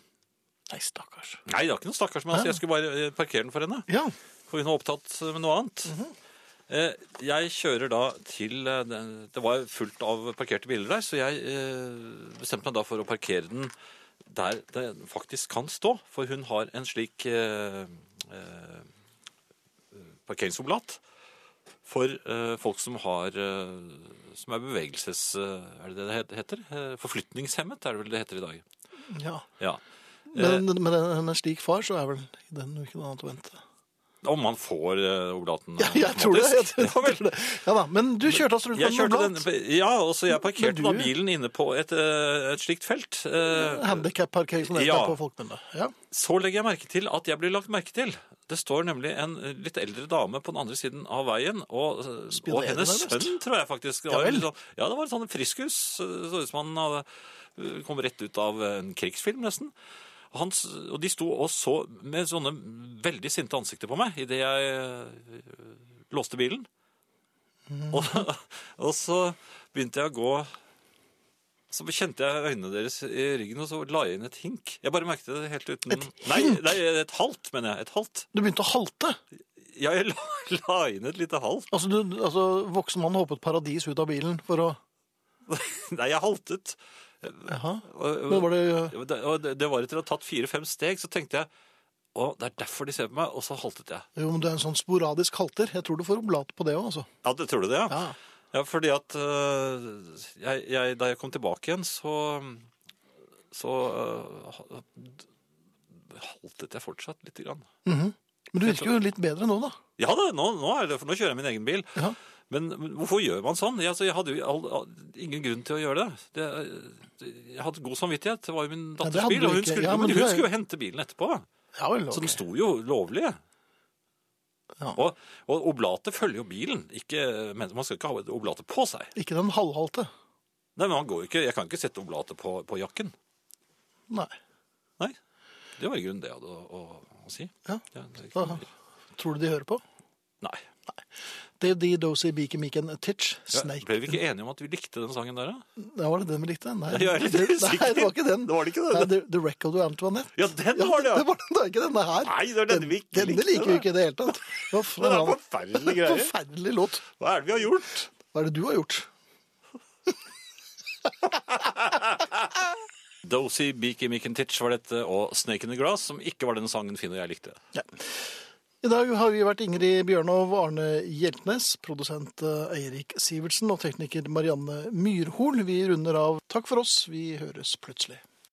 Nei, stakkars.
Nei, det var ikke noe stakkars, men altså, jeg skulle bare eh, parkere den for henne.
Ja,
For hun var opptatt med noe annet. Eh, Jeg kjører da til eh, den- Det var fullt av parkerte biler der, så jeg eh, bestemte meg da for å parkere den der den faktisk kan stå. For hun har en slik eh, eh, parkeringsoblat for eh, folk som har eh, Som er bevegelses... eh, Er det det det heter? Eh, Forflytningshemmet er det vel det heter i dag.
Ja. Eh.
Ja.
Men med en, en slik far, så er vel den jo ikke noe annet å vente.
Om man får eh, oblaten
Ja, jeg tror det. Jeg
automatisk.
tror,
Ja, vel.
det. Ja da, men du kjørte altså rundt
Jeg
med en
kjørte
oblat?
den, ja, og så jeg parkerte
Men
da
du-
bilen inne på et, eh, et slikt felt. Eh,
Handikap-parkering som det
Ja.
heter på folkemunne. Ja.
Så legger jeg merke til at jeg blir lagt merke til. Det står nemlig en eh, litt eldre dame på den andre siden av veien, og, eh, og
Spionerer
hennes
nærmest.
sønn, tror jeg faktisk. Det
Ja
var
vel.
litt sånn, ja, det var et sånt friskus. eh, Så ut som han hadde, eh, kom rett ut av en krigsfilm, nesten. Hans, og de sto og så med sånne veldig sinte ansikter på meg idet jeg eh, låste bilen.
Mm.
Og, og så begynte jeg å gå Så kjente jeg øynene deres i ryggen, og så la jeg inn et hink. Jeg bare merket det helt uten
Et
Nei,
hink?
nei, et halvt, mener jeg. Et halvt.
Du begynte å halte.
Ja, jeg la, la inn et lite halvt.
Altså, du, altså voksen mann hoppet paradis ut av bilen for å
Nei, jeg haltet.
Jaha.
Og,
Men var det
og det, og det- det var etter å ha tatt fire-fem steg, så tenkte jeg å, det er derfor de ser på meg, og så haltet jeg.
Jo, men du er en sånn sporadisk halter. Jeg tror du får oblat på det òg, altså.
Ja, det tror du det, ja?
Ja.
Ja, fordi at øh, jeg, jeg, da jeg kom tilbake igjen, så, så øh, ha- haltet jeg fortsatt litt. Grann.
Men du virker jo litt bedre nå, da.
Ja, da, nå, nå, er det, for nå kjører jeg min egen bil.
Ja.
Men, men hvorfor gjør man sånn? Jeg, altså, jeg hadde jo all, all, ingen grunn til å gjøre det. det. øh, Jeg hadde god samvittighet. Det var jo min
det
datters
hadde
bil, og
du
hun
ikke.
skulle,
Ja, men
men
du
hun
er-
skulle jo hente bilen etterpå.
Ja vel.
Så
ok.
den sto jo lovlig.
Ja.
Og, og oblatet følger jo bilen. Ikke, men man skal ikke ha oblatet på seg.
Ikke den halvhalte.
Nei, men man går jo ikke, Jeg kan ikke sette oblatet på, på jakken.
Nei.
Nei. Det var i grunnen det jeg hadde å, å, å si.
Ja.
det er ikke
Aha.
noe mer.
Tror du de hører på?
Nei.
Det er de dozy beaky meeken titch
Ja,
snake.
ble vi ikke enige om at vi likte den sangen der, da?
Ja, var det den vi likte? Nei,
Jeg er litt usikker.
Nei, det var ikke den.
Det var det ikke,
Nei,
det.
the, the Record of Antoinette.
Ja, den var
Det
det, ja!
var den, det er ikke denne her.
Nei, det er denne vi ikke
Denne liker vi
da.
ikke i det hele tatt. Det var
Det er
en
forferdelige greier.
forferdelig låt.
Hva er det vi har gjort?
Hva er det du har gjort?
Dozy Beaky Mickentitch var dette, og Snake in the Grass, som ikke var den sangen Finn og jeg likte.
I dag har vi vært Ingrid Bjørnov, Arne Hjeltnes, produsent eh, Eirik Sivertsen og tekniker Marianne Myrhol. Vi runder av. Takk for oss. Vi høres plutselig.